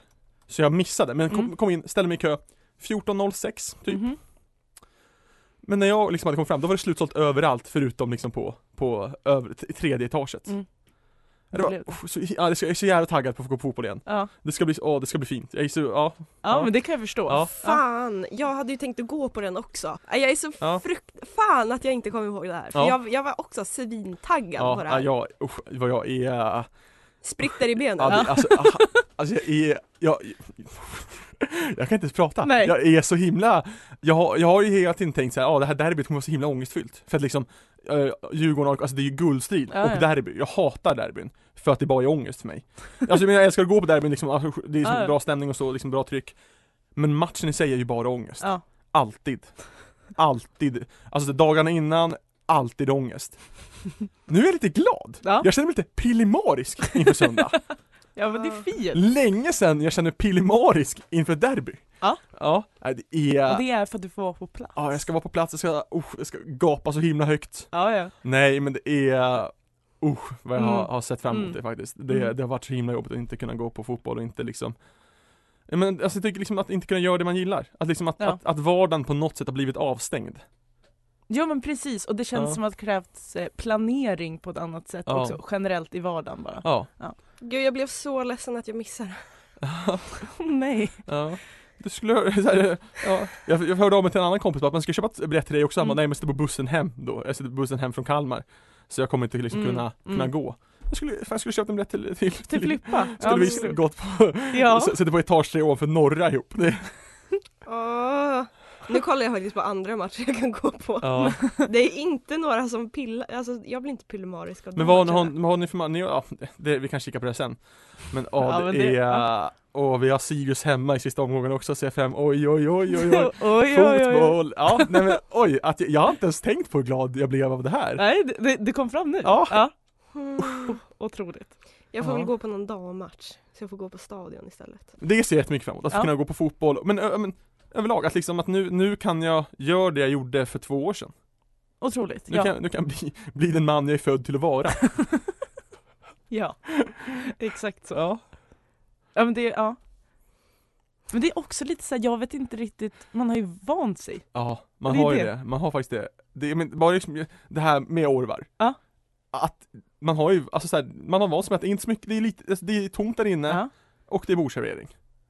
B: så jag missade, men kom,
C: Mm.
B: kom in, ställde mig i kö 14.06 typ.
C: Mhm.
B: Men när jag liksom hade kommit fram, då var det slutsålt överallt förutom liksom på, på över, t- tredje etaget.
C: Mm.
B: Det var,
C: Blev
B: oh, så, ja, det ska, jag är så jävla taggad på att få gå på fotboll igen.
C: Ja.
B: Det ska bli, åh det ska bli fint. Jag är så, ja.
C: Ja,
B: Ja.
C: men det kan jag förstå.
B: Ja.
D: Fan, jag hade ju tänkt att gå på den också. Nej, Jag är så
B: Ja.
D: frukt... Fan att jag inte kom ihåg det här. För
B: Ja.
D: jag, jag var också svintaggad på
B: Ja,
D: det
B: ja,
D: här.
B: jag, usch, vad jag är, ja,
D: Spritter i benen.
B: det, alltså, ah, alltså jag är, jag, jag kan inte ens prata.
C: Nej.
B: Jag är så himla, jag, har- jag har ju hela tiden tänkt såhär, ja det här derbyt kommer vara så himla ångestfyllt. För att liksom, uh, Djurgården, och- alltså det är ju guldstrid
C: Ja,
B: och
C: ja.
B: derby, jag hatar derbyn. För att det bara är ångest för mig. Alltså jag menar, jag älskar att gå på derbyn, liksom, alltså, det är så
C: Ja, ja.
B: bra stämning och så, liksom bra tryck. Men matchen i sig är ju bara ångest.
C: Ja.
B: Alltid. Alltid. Alltså dagarna innan, alltid ångest. Nu är jag lite glad.
C: Ja.
B: Jag känner mig lite pillemarisk inför söndag.
C: ja, men det är fel.
B: Länge sedan jag känner pillemarisk inför ett derby.
C: Ja.
B: Ja, nej, det är...
C: Och det är för att du får vara på plats.
B: Ja, jag ska vara på plats, jag ska, usch, jag ska gapa så himla högt.
C: Ja, ja.
B: Nej, men det är... Usch, vad jag har,
C: Mm.
B: har sett fram emot
C: Mm.
B: det faktiskt. Det,
C: Mm.
B: det har varit så himla jobbigt att inte kunna gå på fotboll och inte liksom Ja, men alltså jag tycker liksom att inte kunna göra det man gillar. Att liksom att,
C: Ja.
B: att, att vardagen på något sätt har blivit avstängd.
C: Ja men precis, och det känns
B: Ja.
C: som att det krävts eh, planering på ett annat sätt
B: Ja.
C: också, generellt i vardagen bara.
B: Ja.
D: Gud, jag blev så ledsen att jag missade.
C: Åh, nej.
B: Ja. Du skulle, så här, ja. jag, jag hörde av mig till en annan kompis bara att man ska köpa ett biljett till dig också, han bara
C: Mm.
B: nej men jag sitter på bussen hem då, jag sitter på bussen hem från Kalmar Så jag kommer inte liksom
C: Mm.
B: kunna, kunna
C: Mm.
B: gå Jag skulle, fan, jag skulle köpa en biljett till, till,
C: Till Filippa.
B: Skulle vi
C: absolut.
B: gått på,
C: Typ Ja.
B: s- sitter på etage tre ovanför norra ihop det,
D: Åh. Nu kollar jag faktiskt på andra matcher jag kan gå på.
B: ja.
D: Det är inte några som pillar, alltså jag blir inte pillemarisk av de
B: Men vad har,
D: matcherna.
B: vad har ni för man, ni, ja, det, vi kan kika på det sen Men,
C: Ja,
B: ja,
C: men
B: det,
C: det-
B: är,
C: ja.
B: och vi har Sirius hemma i sista omgången också ser jag fram, oj oj oj oj oj
C: oj, oj, oj, oj.
B: Fotboll, ja nej men oj, att jag, jag har inte ens tänkt på hur glad jag blev av det här
C: Nej, det- det, det kom fram nu.
B: Ja.
D: Mm.
C: Otroligt.
D: Jag får
B: Ja.
D: väl gå på någon dammatch. Så jag får gå på stadion istället.
B: Det ser jag jättemycket fram emot, att
C: Ja.
B: få kunna gå på fotboll, men, ö, men överlag att liksom att nu, nu kan jag göra det jag gjorde för två år sedan.
C: Otroligt.
B: Nu
C: Ja.
B: kan, nu kan jag bli, bli den man jag är född till att vara.
C: ja. Exakt så.
B: Ja.
C: Ja men det, ja. Men det är också lite såhär, jag vet inte riktigt, man har ju vant sig.
B: Ja, man
C: Det är
B: har ju
C: det.
B: det. Man har faktiskt det. det, men bara liksom, det här med orvar.
C: Ja.
B: Att man har ju, alltså så här, man har vant sig med att det är inte så mycket, det är lite, alltså, det är tomt där inne
C: Ja,
B: och det är bordservering.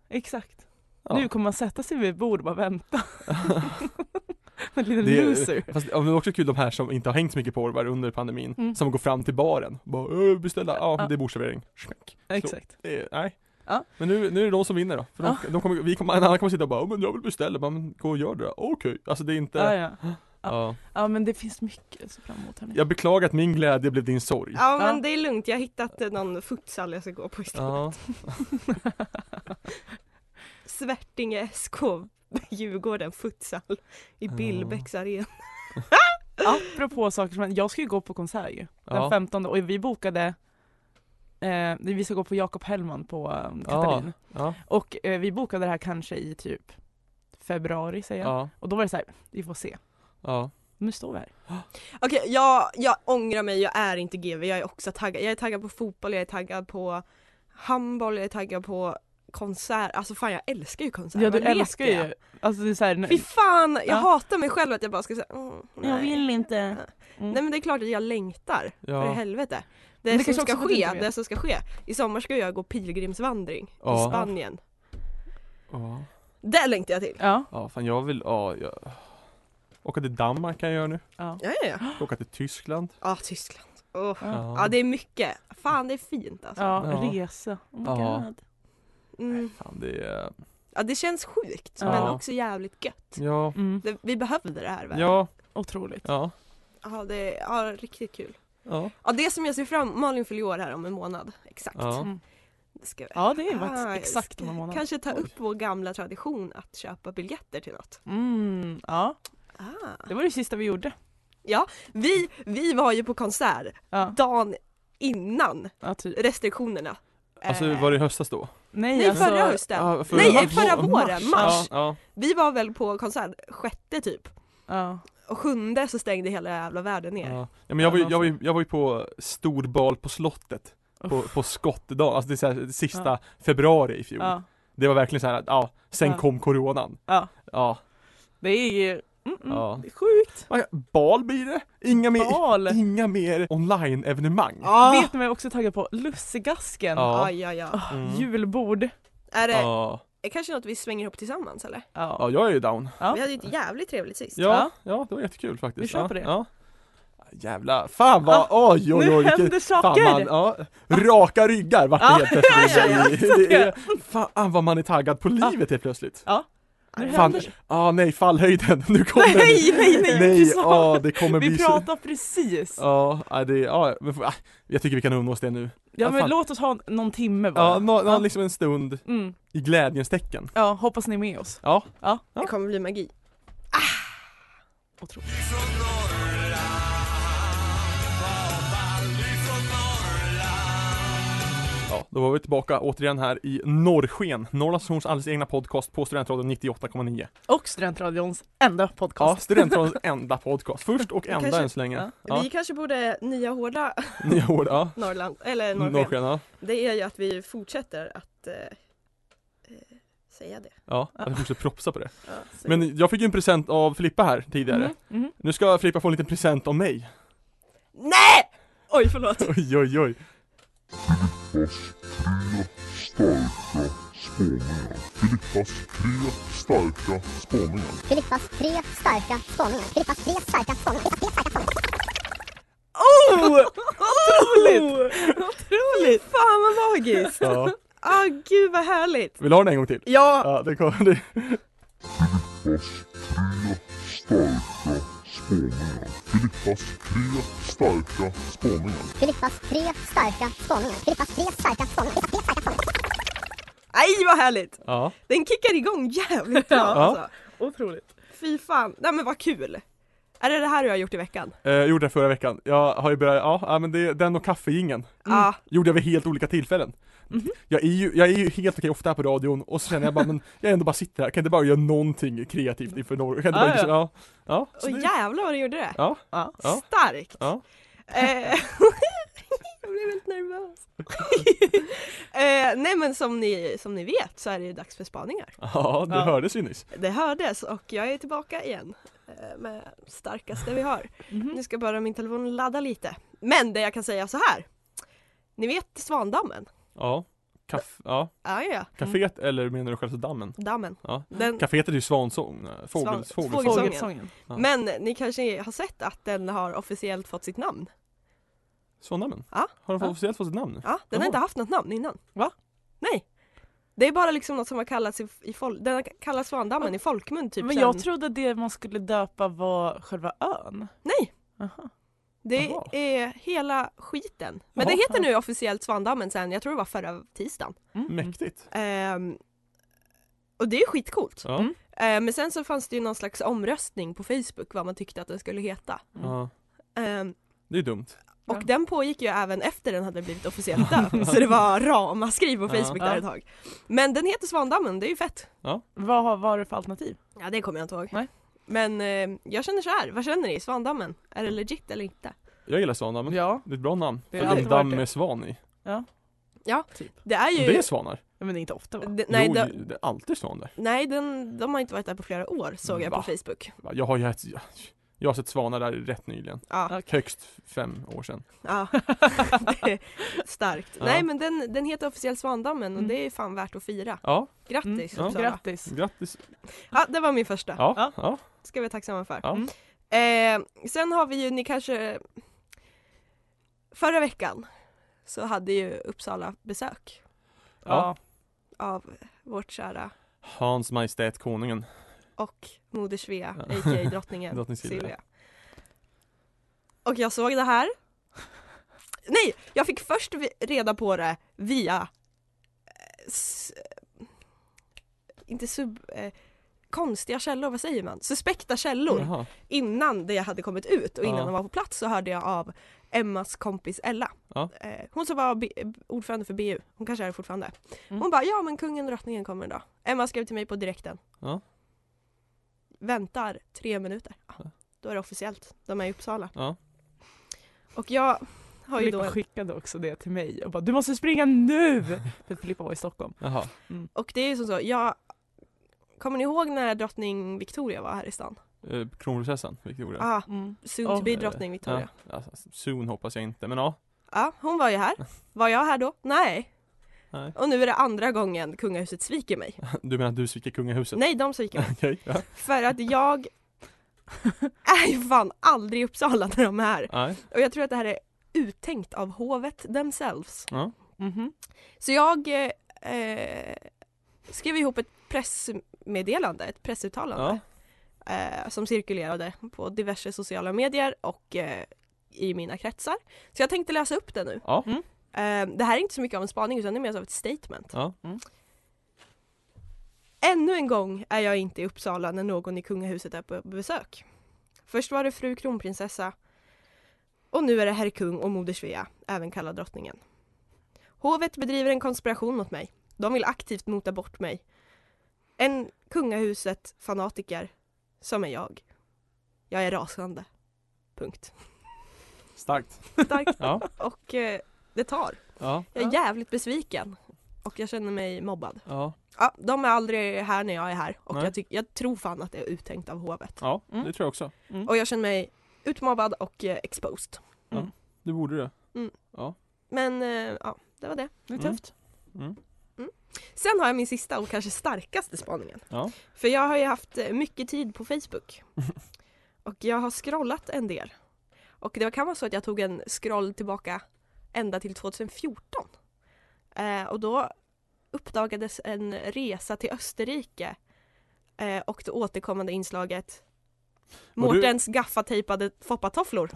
C: exakt.
B: Ja.
C: Nu kommer man sätta sig vid ett bord och bara vänta. En liten
B: Det är-
C: loser.
B: Fast ja, men det är också kul de här som inte har hängt så mycket på orvar under pandemin,
C: Mm.
B: som går fram till baren, bara "Ö, beställa, ja
C: Ja.
B: det är bordservering, smäck.
C: Exakt.
B: Det är, nej.
C: Ja.
B: Men nu, nu är det de som vinner då, för de, de kommer, vi kommer, en annan kommer sitta och bara "Ja, men jag vill beställa, bara, men gå och gör det då. Okej, alltså det är inte,
C: Ja, ja.
B: ja.
C: ja, men det finns mycket att se fram emot. hörni.
B: Jag beklagar att min glädje blev din sorg.
D: Ja men
C: Ja.
D: det är lugnt, jag har hittat eh, någon futsal jag ska gå på istället.
B: Ja.
D: Svärtinge SK, Djurgården futsal i
B: Ja.
D: Billbäcks arena.
C: Apropå saker som händer, jag ska ju gå på konsert ju. Den 15 och vi bokade eh, Vi ska gå på Jakob Hellman på eh, Katalin.
B: Ja.
C: Och eh, vi bokade det här kanske i typ februari säger jag.
B: Ja.
C: Och då var det så här, vi får se.
B: Ja.
C: Nu står vi här.
D: Okej, jag, jag ångrar mig, jag är inte GV, jag är också taggad. Jag är taggad på fotboll, jag är taggad på handboll, jag är taggad på konsert. Alltså fan jag älskar ju konserter.
C: Ja du
D: Vad leker
C: älskar
D: jag?
C: ju, alltså det är så här,
D: Fy
C: nej,
D: fan, jag
C: Ja.
D: hatar mig själv att jag bara ska säga mm, nej.
C: inte.
D: nej men det är klart att jag längtar, för i
B: Ja.
D: helvete. Det,
C: Men det
D: som
C: kanske
D: ska
C: också för att du
D: ske,
C: inte vet.
D: det som ska ske. I sommar ska jag gå pilgrimsvandring
B: Ja.
D: i Spanien.
B: Ja.
D: Det längtar jag till!
C: Ja,
B: Ja, fan jag vill, ja, jag... Åka till Danmark kan jag göra nu.
C: ja.
D: Ja, ja, ja.
B: Åka till Tyskland.
D: Ah, Tyskland. Åh.
C: Ja.
D: Ja det är mycket, fan det är fint alltså.
C: Ja,
B: Ja.
C: resa. Oh my
B: Ja.
C: God.
D: Mm.
B: Fan det är...
D: Ja det känns sjukt
C: Ja.
D: men också jävligt gött.
B: Ja.
C: Mm.
D: Det, vi behövde det här verkligen.
B: Ja.
C: Otroligt.
B: Ja.
D: Ja det är ja, riktigt kul.
B: Ja.
D: Ja det som jag ser fram Malin fyller ju år här om en månad. Exakt.
B: Ja.
C: Mm.
D: Det ska vi.
C: Ja det är faktiskt
D: Ah,
C: exakt
D: ska-
C: om en månad.
D: Kanske ta
B: Oj.
D: upp vår gamla tradition att köpa biljetter till något.
C: Mm, ja,
D: Ah.
C: det var det sista vi gjorde.
D: Vi, vi var ju på konsert
C: Ja,
D: dagen innan
C: ja typ.
D: restriktionerna.
B: Alltså
D: Eh,
B: var det i höstas då?
C: Nej,
D: Nej
C: alltså,
D: förra hösten.
B: Ja, för-
D: Nej
B: mars.
D: förra våren, mars.
B: Ja.
D: Vi var väl på konsert sjätte typ.
C: Ja.
D: Och sjunde så stängde hela jävla världen
B: Ja.
D: ner.
B: ja. men jag var ju, jag var ju, jag var ju på storbal på slottet. På, på skottdag, alltså det är så här, det sista
C: Ja.
B: februari i fjol.
C: ja.
B: Det var verkligen så här att, ja, sen
C: Ja.
B: kom coronan.
C: Ja.
B: Ja.
C: Det är ju mm, mm,
B: Ja.
C: det är sjukt.
B: Man- Bal blir det! Inga mer,
C: Bal.
B: inga mer online-evenemang.
C: Vet ni vad jag också är taggad på? Lussegasken.
B: Ja.
D: Aj, aj, aj.
C: Ah,
B: Mm.
C: Julbord.
D: Är det
B: Ja.
D: är kanske något vi svänger ihop tillsammans eller?
C: Ja.
B: Ja, jag är ju down.
C: Ja.
D: Vi hade ju ett jävligt trevligt sist.
B: Ja, ja, det var jättekul faktiskt.
C: Vi kör
B: ja,
C: på det.
B: Ja. Jävla, fan vad, oj oj
C: nu
B: oj vilket-
C: händer
B: Fan,
C: saker!
B: man, ja, raka ryggar vart det
C: Ja.
B: helt plötsligt.
C: Ja, ja, ja.
B: Det är, fan vad man är taggad på livet helt plötsligt.
C: nu
B: Fan,
C: händer...
B: ah, nej fallhöjden, nu kommer det.
C: Nej, nej, nej!
B: nej
C: precis.
B: ah, det kommer bli
C: vi
B: så.
C: pratar precis! Ja,
B: Ja, ah, det, ah, men, får- ah, jag tycker vi kan unna oss det nu.
C: men
B: fan.
C: låt oss ha någon timme bara.
B: Ja, nå, nå,
C: Ja.
B: liksom en stund
C: Mm.
B: i glädjens tecken.
C: ja, hoppas ni är med oss.
B: Ja,
D: Det kommer bli magi.
C: Otroligt.
B: Ja, då var vi tillbaka återigen här i Norrsken, Norrlands Horns alldeles egna podcast på Studentradion 98,9.
C: Och Studentradions enda
B: Ja,
C: podcast.
B: Studentradions enda podcast. Först och enda
D: kanske-
B: än så länge.
C: ja.
B: Ja,
D: Vi kanske borde nya hårda
B: nya ord, ja.
D: Norrland, eller Norrsken.
B: Norrsken, ja.
D: Det är ju att vi fortsätter att eh, eh, säga det.
B: Ja, jag fortsätter propsa på det.
D: Ja, så-
B: Men jag fick ju en present av Filippa här tidigare.
C: Mhm, mhm.
B: Nu ska Filippa få en liten present av mig.
D: Nej! Oj förlåt.
B: Oj, oj, oj.
H: Filippas tre starka spaningar. Filippas tre starka spaningar.
I: Filippas tre starka spaningar. Filippas tre starka spaningar. Filippas tre starka spaningar.
D: Oh! Otroligt! Otroligt! Fan vad magiskt!
B: Ja.
D: Ah gud vad härligt!
B: Vill du ha den en gång till?
D: Ja,
B: Ja, det kommer det.
H: Filippas tre starka spaningar. Filippas tre starka spaningar.
I: Filippas tre starka spaningar. Filippas tre starka spaningar. Filippas tre starka spaningar.
D: nej vad härligt!
B: Ja.
D: Den kickar igång jävligt bra
B: Ja.
D: alltså.
C: Otroligt.
D: Fy fan, nej men vad kul! Är det det här du har gjort i veckan?
B: Eh, gjorde det förra veckan. Jag har ju börjat, ja, ja men det, den och kaffegingen
D: Ja,
B: gjorde jag vid helt olika tillfällen. Jag, är ju, jag är ju helt okej ofta här på radion och så känner jag bara, men jag ändå bara sitter här, kan inte bara göra någonting kreativt inför någon? Kan inte bara,
C: Ja, ja.
B: liksom, ja. Ja, så
D: och
B: det-
D: jävlar vad du gjorde det!
B: ja,
C: Ja.
B: ja,
D: Starkt!
B: ja.
D: Eh, jag blev väldigt nervös. eh, nej men som ni, som ni vet så är det ju dags för spaningar.
B: Ja, det
C: Ja.
B: hördes ju nyss.
D: Det hördes och jag är tillbaka igen. Eh, eh, med starkaste vi har.
C: Mhm.
D: Nu ska bara min telefon ladda lite. Men det jag kan säga så här. Ni vet Svandammen?
B: Ja. Kaf- ja.
D: Ja, ja, ja.
B: Kaféet eller menar du själva dammen?
D: Dammen.
B: Ja.
D: Den,
B: Kaféet är ju svansång, nej, fågel,
D: Svan-
B: fågelsång.
D: fågelsång.
C: Fågelsången.
B: Ja.
D: Men ni kanske har sett att den har officiellt fått sitt namn?
B: Svandammen?
D: Ja.
B: Har den fått
C: Ja.
B: officiellt fått sitt namn nu?
D: Ja, den har
B: Jaha.
D: inte haft något namn innan.
C: Va?
D: Nej. Det är bara liksom något som har kallats i, i folk, den har kallats Svandammen i folkmun typ
C: Men
D: sen-
C: jag trodde det man skulle döpa var själva ön.
D: Nej!
C: Aha.
D: Det
B: Jaha.
D: är hela skiten. Men
B: Jaha.
D: det heter nu officiellt Svandammen sen, jag tror det var förra tisdagen.
C: Mm.
B: Mäktigt.
D: Ehm, och det är skitcoolt.
B: Ja.
C: Mm.
D: Ehm, men sen så fanns det ju någon slags omröstning på Facebook vad man tyckte att den skulle heta.
C: Mm.
B: ja.
D: Ehm,
B: Det är ju dumt.
D: och
C: Ja.
D: den pågick ju även efter den hade blivit officiellt döpt. så det var ramaskri på Facebook
C: Ja.
D: där ett tag. Men den heter Svandammen, det är ju fett.
C: Vad har- var det för alternativ?
D: Ja det kommer jag inte ihåg.
C: Nej.
D: Men eh, jag känner så här. vad känner ni? Svandammen? Är det legit eller inte?
B: Jag gillar Svandammen.
C: Ja.
B: Det är ett bra namn. Det
C: Det har
B: är en
C: alltid varit
B: damm
C: det.
B: med svan i.
D: Det är ju...
B: Och det är svanar.
C: Men det är inte ofta va?
D: D-
B: Nej,
D: nej,
B: jo,
D: de,
B: det är alltid svan där.
D: nej den, de har inte varit där på flera år såg jag
B: Va?
D: på Facebook.
B: Va, Jag har ju ett, jag- jag har sett svanar där rätt nyligen.
D: Ja,
B: Högst fem år sedan.
D: ja. det är starkt.
B: Ja.
D: Nej men den, den heter officiellt Svandammen och
C: Mm.
D: det är fan värt att fira.
B: Ja,
D: Grattis
B: Mm. Ja.
D: Uppsala.
C: Grattis!
B: grattis.
D: Ja det var min första.
B: Ja,
C: Ja.
B: ja. ja.
D: Ska vi vara tacksamma för.
B: Ja.
D: Eh, sen har vi ju, ni kanske Förra veckan så hade ju Uppsala besök
C: Ja.
D: av vårt kära
B: Hans Majestät Konungen.
D: och Moder Svea,
B: Ja.
D: a.k.a. drottningen
B: Drottning Silvia.
D: Silvia. Och jag såg det här. Nej, jag fick först vi- reda på det via eh, s- eh, inte sub... Eh, konstiga källor, vad säger man? Suspekta källor.
B: Jaha.
D: Innan det hade kommit ut och innan
B: Ja.
D: de var på plats så hörde jag av Emmas kompis Ella.
B: Ja.
D: Eh, hon som var B- ordförande för BU, hon kanske är det fortfarande.
C: Mm.
D: Hon bara, ja men kungen och drottningen kommer idag. Emma skrev till mig på direkten.
B: Ja.
D: Väntar tre minuter. Ja,
B: Ja.
D: Då är det officiellt, de är i Uppsala.
B: Ja.
D: Och jag har ju då
C: Filippa
D: en,
C: skickade också det till mig och bara du måste springa nu! För att Filippa var i Stockholm.
B: Jaha.
D: och det är ju som så, jag Kommer ni ihåg när drottning Victoria var här i stan?
B: Eh, Kronprinsessan Victoria.
D: Ja, ah,
C: Mm.
D: soon to be
B: Eh,
D: drottning Victoria.
B: Ja. Alltså, soon hoppas jag inte, men ja.
D: Ja, hon var ju här. Var jag här då? Nej.
B: Nej.
D: Och nu är det andra gången kungahuset sviker mig.
B: Du menar att du sviker kungahuset?
D: Nej, de sviker mig.
B: Okej. Ja.
D: För att jag är ju fan aldrig i Uppsala när de är här.
B: Nej.
D: Och jag tror att det här är uttänkt av hovet themselves.
B: Ja.
C: Mhm.
D: Så jag eh, eh, skrev ihop ett pressmeddelande, ett pressuttalande
B: Ja.
D: eh, som cirkulerade på diverse sociala medier och eh, i mina kretsar. Så jag tänkte läsa upp det nu.
B: Ja.
C: Mm.
D: Eh, det här är inte så mycket av en spaning utan det är mer av ett statement.
B: Ja.
C: Mm.
D: Ännu en gång är jag inte i Uppsala när någon i kungahuset är på besök. Först var det fru kronprinsessa och nu är det herr kung och moder Svea, även kallad drottningen. Hovet bedriver en konspiration mot mig. De vill aktivt mota bort mig. En kungahuset-fanatiker som är jag. Jag är rasande. Punkt.
B: Starkt.
D: Starkt.
B: Ja.
D: Och eh, det tar.
B: Ja.
D: Jag är
C: Ja.
D: jävligt besviken. Och jag känner mig mobbad.
B: Ja.
D: Ja, de är aldrig här när jag är här. Och
B: Nej.
D: jag, tyck- jag tror fan att det är uttänkt av hovet.
B: Ja,
C: Mm.
B: det tror jag också.
D: Och jag känner mig utmobbad och eh, exposed.
B: Det borde det.
D: Men eh, ja, det var det.
C: Det är
B: Mm.
C: tufft.
D: Sen har jag min sista och kanske starkaste spaningen.
B: Ja.
D: För jag har ju haft eh, mycket tid på Facebook. och jag har scrollat en del. Och det kan vara så att jag tog en scroll tillbaka ända till 2014. Eh, och då uppdagades en resa till Österrike eh, och det återkommande inslaget
B: Var du-
D: Mårtens gaffatejpade foppatofflor.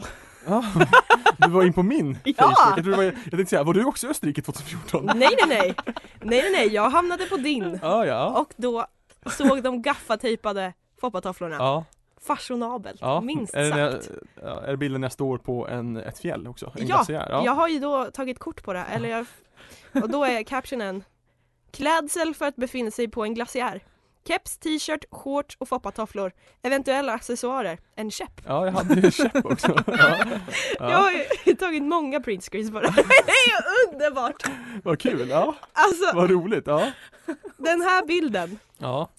B: Ja. Du var in på min
D: Ja.
B: Facebook. Jag, tror det var, jag tänkte säga, var du också i Österrike 2014?
D: Nej nej nej! Nej nej nej, jag hamnade på din!
B: Ja, ja.
D: Och då såg de gaffatejpade foppatofflorna.
B: Ja.
D: Fashionabelt,
B: Ja,
D: minst
B: är det,
D: sagt.
B: när jag, ja, är det bilden när jag står på en, ett fjäll också? En
D: Ja,
B: glaciär?
D: Jag har ju då tagit kort på det, eller jag, och då är captionen Klädsel för att befinna sig på en glaciär Keps, t-shirt, shorts och foppatofflor Eventuella accessoarer, en käpp
B: ja jag hade ju käpp också. Ja.
D: Jag
B: Ja.
D: har ju tagit många printscreens på det här. Det är ju underbart!
B: Vad kul, ja.
D: Alltså
B: Vad roligt, ja.
D: den här bilden
B: ja.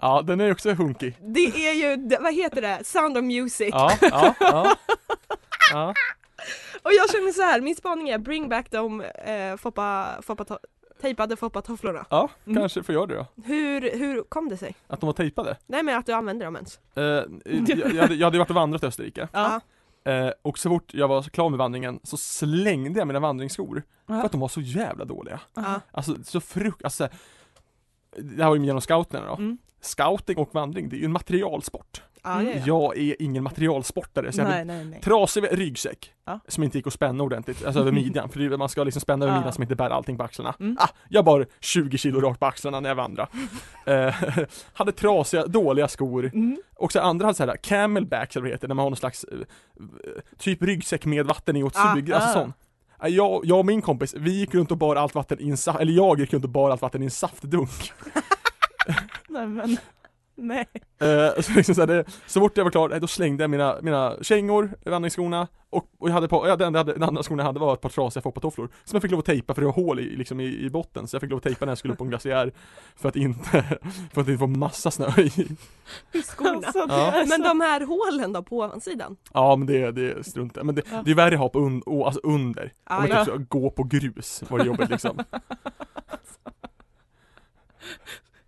B: Ja, den är också hunkig.
D: Det är ju, vad heter det, Sound of Music.
B: Ja, ja, ja. ja.
D: Och jag känner så här, min spaning är bring back de eh, foppa, foppa, to- tejpade foppatofflorna.
B: Ja, kanske får jag det då.
D: Hur, hur kom det sig?
B: Att de var tejpade.
D: Nej men att du använder dem ens.
B: Eh, jag, jag, hade, jag hade varit och vandrat i Österrike.
D: Ja.
B: Eh, och så fort jag var klar med vandringen så slängde jag mina vandringsskor.
C: Ja.
B: För att de var så jävla dåliga.
D: Ja.
B: Alltså så frukt, alltså Det här var ju genom scouterna då.
C: Mm.
B: Scouting och vandring, det är ju en materialsport.
C: Ah,
D: Ja, ja, ja.
B: Jag är ingen materialsportare så jag hade
C: Nej, nej, nej.
B: trasig ryggsäck.
C: Ja.
B: Som inte gick att spänna ordentligt, alltså över midjan. För det är- man ska liksom spänna över
C: Ja.
B: midjan så man inte bär allting på axlarna.
C: Mm.
B: Ah, jag bar 20 kilo rakt på axlarna när jag vandrade. eh, hade trasiga, dåliga skor.
C: Mm.
B: Och så andra hade så här camelback eller vad det heter, när man har någon slags eh, typ ryggsäck med vatten i och
D: Ah,
B: sug, alltså
C: ah.
B: sån. Eh, Jag, jag och min kompis, vi gick runt och bar allt vatten i en saft, eller jag gick runt och bar allt vatten i en saftdunk.
C: Nej men, nej.
B: Eh, så, liksom så, här, det, så fort jag var klar, eh, då slängde jag mina, mina kängor, vandringsskorna och, och jag hade på, ja, den, jag hade, den andra skorna jag hade var ett par trasiga foppatofflor som jag fick lov att tejpa för det var hål i, liksom, i, i botten så jag fick lov att tejpa när jag skulle upp på en glaciär för att inte, för att inte få massa snö i.
D: I skorna.
C: Alltså, det
B: Ja.
C: är
D: Men
C: så-
D: de här hålen då på ovansidan?
B: Ja men det, det struntar jag- men det,
C: Ja.
B: det är värre att ha på un, å- alltså under,
C: ah,
B: om
D: Ja,
B: man
D: ja.
B: typ ska gå på grus, var det jobbigt liksom.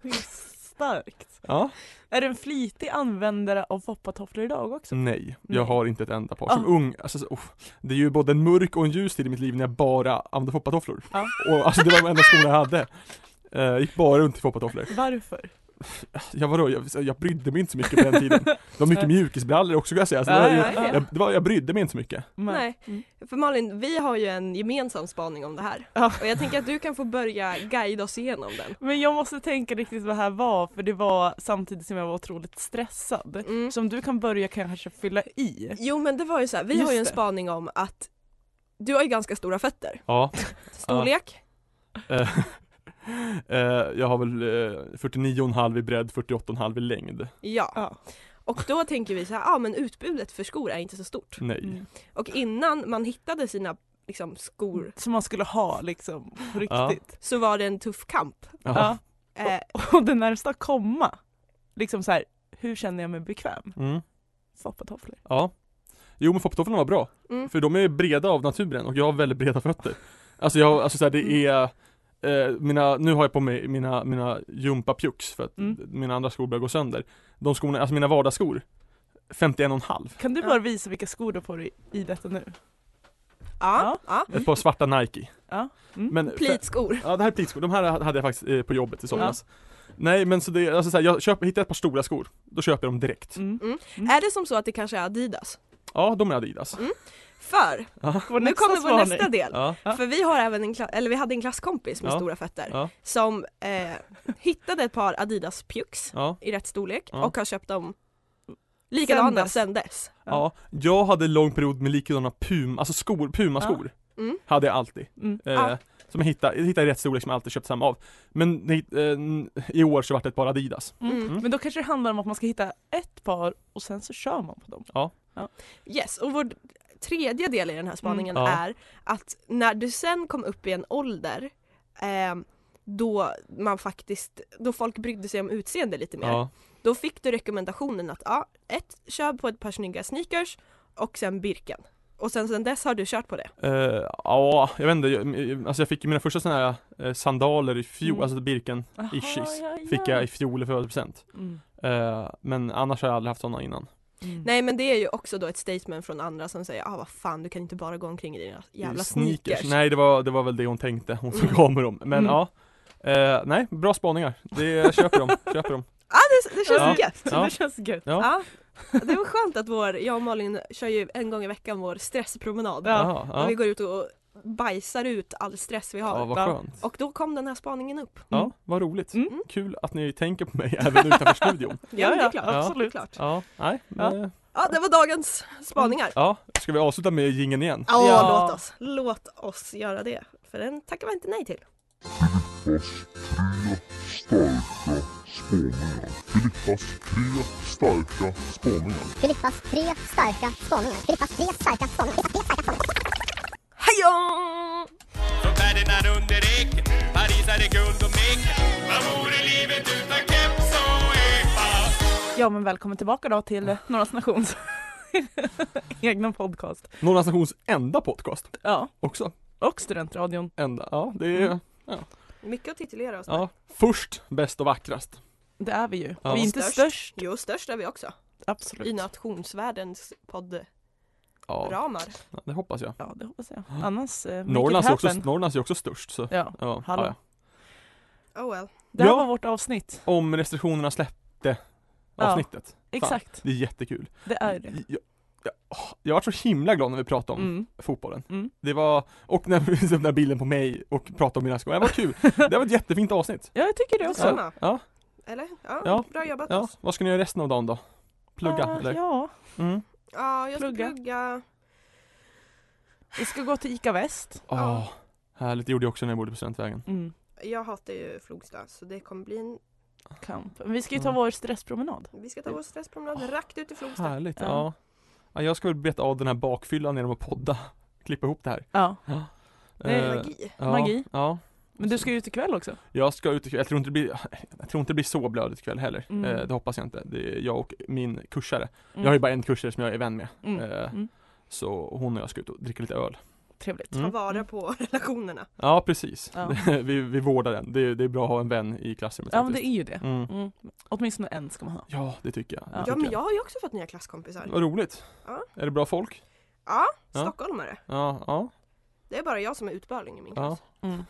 C: det är starkt.
B: Ja,
C: Är du en flitig användare av foppatofflor idag också?
B: nej, jag
C: Nej.
B: har inte ett enda par.
C: Ah.
B: Som ung, alltså, så- oh, det är ju både en mörk och en ljus tid i mitt liv när jag bara använde foppatofflor.
C: Ja.
B: Och alltså det var de enda skorna jag hade. Eh, gick bara runt i foppatofflor.
C: Varför?
B: Jag, vadå, jag, jag brydde mig inte så mycket på den tiden. Det var mycket mjukisbrallor också kan jag säga. Så det var,
C: Ja,
B: jag,
C: ja, ja.
B: jag, det var, jag brydde mig inte så mycket.
D: Nej.
C: Mm.
D: För Malin, vi har ju en gemensam spaning om det här.
C: Ja.
D: Och jag tänker att du kan få börja guida oss igenom den.
C: Men jag måste tänka riktigt vad det här var för det var samtidigt som jag var otroligt stressad.
D: Mm.
C: Så om du kan börja kanske fylla i.
D: Jo men det var ju så här, vi
C: Just
D: har ju en
C: det.
D: spaning om att du har ju ganska stora fötter.
B: Ja.
D: Storlek?
B: Eh, eh, jag har väl eh, 49,5 i bredd, 48,5 i längd.
D: Ja.
C: Ja.
D: Och då tänker vi så här, ja men utbudet för skor är inte så stort.
B: Nej.
C: Mm.
D: Och innan man hittade sina liksom, skor
C: Som man skulle ha liksom
B: Ja.
C: på riktigt.
D: så var det en tuff kamp.
B: Ja.
C: Ja.
D: Eh,
C: Och det närmsta att komma, liksom så här, hur känner jag mig bekväm?
B: Mm.
C: Foppatofflor.
B: Ja. Jo men foppatofflorna var bra.
D: Mm.
B: För de är breda av naturen och jag har väldigt breda fötter. Alltså jag, alltså så här, det
C: Mm.
B: är eh, mina, nu har jag på mig mina, mina jumpapjucks för att
C: Mm.
B: mina andra skor börjar gå sönder. De skorna, alltså mina vardagsskor 51,5.
C: Kan du
D: Ja.
C: bara visa vilka skor du har på dig i detta nu?
D: ja, ja.
B: Ett par svarta Nike.
C: Mm. Ja. Mm.
B: Men,
D: Plitskor.
B: ja det här är plitskor, de här hade jag faktiskt eh, på jobbet i somras. Nej men så det, alltså så här, jag köper, hittar ett par stora skor, då köper jag dem direkt.
C: Mm.
D: Är det som så att det kanske är Adidas?
B: Ja, de är Adidas.
D: För, nu
C: Vår nästa
D: kommer vår
C: spaning.
D: nästa del.
B: Ja.
C: Ja.
D: För vi har även en, kla- eller vi hade en klasskompis med
B: Ja.
D: stora fötter
B: Ja.
D: som eh, hittade ett par Adidas pjucks
B: Ja.
D: i rätt storlek
B: Ja.
D: och har köpt dem likadana
C: dess.
D: sen dess.
B: Ja, jag hade en lång period med likadana pum, alltså skor, pumaskor.
D: Mm.
B: Hade jag alltid.
C: Mm.
B: Eh,
D: Ah.
B: Som jag hittade, jag hittade i rätt storlek som jag alltid köpt samma av. Men eh, i år så vart det ett par Adidas.
C: Mm.
D: Mm.
C: Men då kanske det handlar om att man ska hitta ett par och sen så kör man på dem.
D: Yes, och vår tredje del i den här spaningen
B: Mm. Ja.
D: är att när du sen kom upp i en ålder eh, då man faktiskt, då folk brydde sig om utseende lite mer.
B: Ja.
D: Då fick du rekommendationen att ja, ett, kör på ett par snygga sneakers och sen Birken. Och sen, sen dess har du kört på det.
B: Eh, ja, jag vet inte, jag, alltså jag fick ju mina första sådana här eh, sandaler i fjol,
C: Mm.
B: alltså Birken
C: Aha,
B: Ishis
C: ja, ja.
B: fick jag i fjol i födelsedagspresent.
C: Mm.
B: Eh, men annars har jag aldrig haft sådana innan.
C: Mm.
D: Nej men det är ju också då ett statement från andra som säger ah vad fan du kan inte bara gå omkring i dina jävla sneakers.
B: Nej, det var, det var väl det hon tänkte, hon som gav mig dem. Men
C: Mm.
B: ja. Eh, nej, bra spaningar. Det, jag köper dem, köper dem.
D: Ja, det, det känns
B: Ja.
D: gött!
C: Så
B: Ja.
C: det känns gött.
B: Ja.
D: Ja. Det var skönt att vår, jag och Malin kör ju en gång i veckan vår stresspromenad.
B: Jaha,
D: När
B: ja.
D: vi går ut och bajsar ut all stress vi har.
B: ja, vad skönt.
D: och då kom den här spaningen upp.
B: Ja, vad roligt.
C: Mm.
B: Kul att ni tänker på mig även utanför studion.
D: Ja, men det är
C: ja,
D: klart.
B: ja.
D: Det är klart.
B: Ja, Mm. nej, men, eh,
D: Ja, det var dagens spaningar.
B: ja. Ska vi avsluta med gingen igen?
D: Ja,
C: Ja.
D: låt oss. Låt oss göra det. För den tackar vi inte nej till.
H: Fast tre starka spåningar. Filippas tre starka spåningar.
I: Filippas tre starka spaningar. Filippas tre starka spaningar. Filippas tre starka spaningar.
D: Hejå!
A: Från Ferdinand under eken Paris är det guld och meken Vad vore livet utan keps och ek?
C: Ja men välkommen tillbaka då till eh, Norra Nations egna podcast.
B: Norra Nations enda podcast
C: Ja,
B: också.
C: och Studentradion.
B: Enda, ja det är,
C: Mm.
D: Mycket att titulera oss med.
B: ja. Först, bäst och vackrast.
C: Det är vi ju.
B: Ja.
C: Vi är inte
D: Störst.
C: störst,
D: Jo, störst är vi också. I
C: absolut.
D: nationsvärldens poddramar.
B: Ja, det hoppas jag.
C: Ja det hoppas jag. Annars, eh, make
B: Mm. Norrlands
C: it
B: är, också,
C: happen.
B: Norrlands är också störst så,
C: Ja.
B: ja.
C: Hallå.
B: ja, ja.
D: Oh well.
C: Det här
B: Ja.
C: var vårt avsnitt.
B: Om restriktionerna släppte
C: Ja.
B: avsnittet.
C: Exakt,
B: Det är jättekul.
C: det är det.
B: Jag, jag, åh, jag var så himla glad när vi pratade om
C: Mm.
B: fotbollen.
C: Mm.
B: Det var, och när vi såg den där bilden på mig och pratade om mina skor. Det var kul. Det var ett jättefint avsnitt.
C: Ja jag tycker det också.
D: Detsamma.
B: Ja,
D: Eller? Ja,
B: Ja.
D: Bra jobbat.
B: ja.
D: Ja,
B: Vad ska ni göra resten av dagen då? Plugga
C: Ah,
B: eller?
C: Ja,
B: Mm.
D: ja jag ska
C: Plugga.
D: plugga.
C: vi ska gå till ICA Väst.
D: Ja.
B: Åh, härligt. Det gjorde jag också när jag bodde på Studentvägen.
C: Mm.
D: Jag hatar ju Flogsta så det kommer bli en...
C: Kamp. Men vi ska ju ta
B: Mm.
C: vår stresspromenad.
D: Vi ska ta vår stresspromenad rakt ut i Flogsta.
B: Härligt.
C: Ja.
B: Ja. Ja. jag ska väl beta av den här bakfyllan genom att podda. Klippa ihop det här.
C: Ja,
D: Det är
B: Eh,
D: magi.
B: ja,
C: magi.
B: Ja.
C: men du ska ju ut ikväll också.
B: Jag ska ut ikväll. Jag tror inte det blir, jag tror inte det blir så blödigt ikväll heller.
C: Mm.
B: Eh, det hoppas jag inte. Det är jag och min kursare.
C: Mm.
B: Jag har ju bara en kursare som jag är vän med.
C: Mm.
B: Eh,
C: Mm.
B: Så hon och jag ska ut och dricka lite öl.
C: Trevligt.
D: Ta
B: Mm.
D: vara på relationerna.
B: Ja precis.
C: Ja.
B: vi, vi vårdar den. Det, är- det är bra att ha en vän i klassrummet
C: Ja men det
B: faktiskt.
C: är ju det.
B: Mm.
C: Mm. Åtminstone en ska man ha.
B: Ja det tycker jag. Det
C: Ja.
B: tycker
D: Ja men jag har ju också fått nya klasskompisar.
B: Vad roligt.
D: Ja.
B: Är det bra folk?
D: Ja,
B: Ja.
D: stockholmare.
B: Ja, ja,
D: Det är bara jag som är utbörling i min
B: ja.
D: klass.
C: Mm.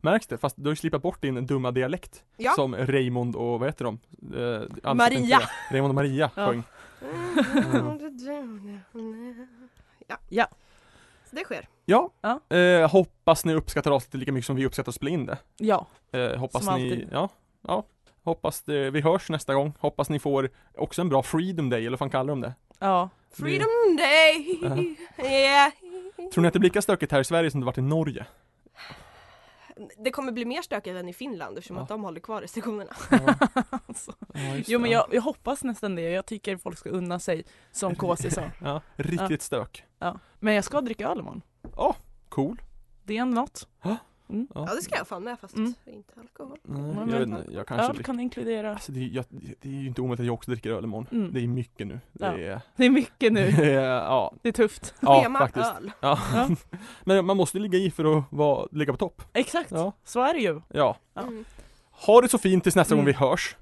B: Märks det? Fast du har ju slipat bort din dumma dialekt.
D: Ja.
B: Som Raymond och vad heter de? Eh, Alfred
D: Maria.
B: Pinchera. Raymond och Maria
C: Ja.
B: sjöng.
D: Ja.
C: Ja.
D: Så det sker.
B: Ja.
C: Ja.
B: Eh, hoppas ni uppskattar avsnittet lika mycket som vi uppskattar att spela in det.
C: Ja,
B: Eh, hoppas
C: Som
B: ni,
C: alltid.
B: ja, ja. Hoppas det, vi hörs nästa gång. Hoppas ni får också en bra freedom day, eller vad fan kallar de det?
C: ja.
D: Freedom day! Yeah.
B: Det, tror ni att det blir lika stökigt här i Sverige som det varit i Norge?
D: Det kommer bli mer stökigt än i Finland eftersom
B: Ja.
D: att de håller kvar restriktionerna.
B: Ja, just
C: Jo
B: det.
C: men jag, jag hoppas nästan det. Jag tycker folk ska unna sig som KC sa.
B: Ja, riktigt stök.
C: Men jag ska dricka öl imorgon.
B: Cool.
C: Det är något.
D: Ja det ska jag fan med fast
C: Mm.
D: inte alkohol.
B: Nej,
C: men-
B: jag vet inte, jag kanske
C: Öl
B: dricker.
C: kan inkludera.
B: Alltså, det, är- jag, det är ju inte omöjligt att jag också dricker öl imorgon.
C: Mm.
B: Det är mycket nu. Det
C: Ja.
B: är,
C: Det är mycket nu.
B: det är, ja,
C: Det är tufft.
B: ja
D: Tema
B: faktiskt.
D: öl.
B: Ja.
C: Ja.
B: Men man måste ligga i för att vara, ligga på topp.
C: Exakt,
B: Ja.
C: så är det ju.
B: ja.
C: Ja.
D: Mm.
B: Ha det så fint tills nästa
C: Mm.
B: gång vi hörs.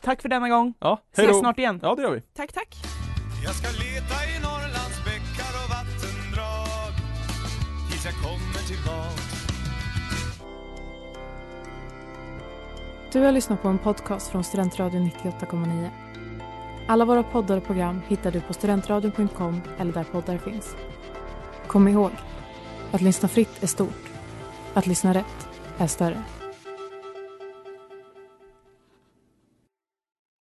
C: Tack för denna gång.
B: Ja, hej
C: Ses
B: då.
C: snart igen.
B: Ja, det gör vi.
D: Tack tack.
G: Jag ska leta i Norrlands bäckar och vattendrag Tills jag kommer tillbaks
J: Du har lyssnat på en podcast från Studentradion 98,9. Alla våra poddar och program hittar du på studentradion.com eller där poddar finns. Kom ihåg, att lyssna fritt är stort. Att lyssna rätt är större.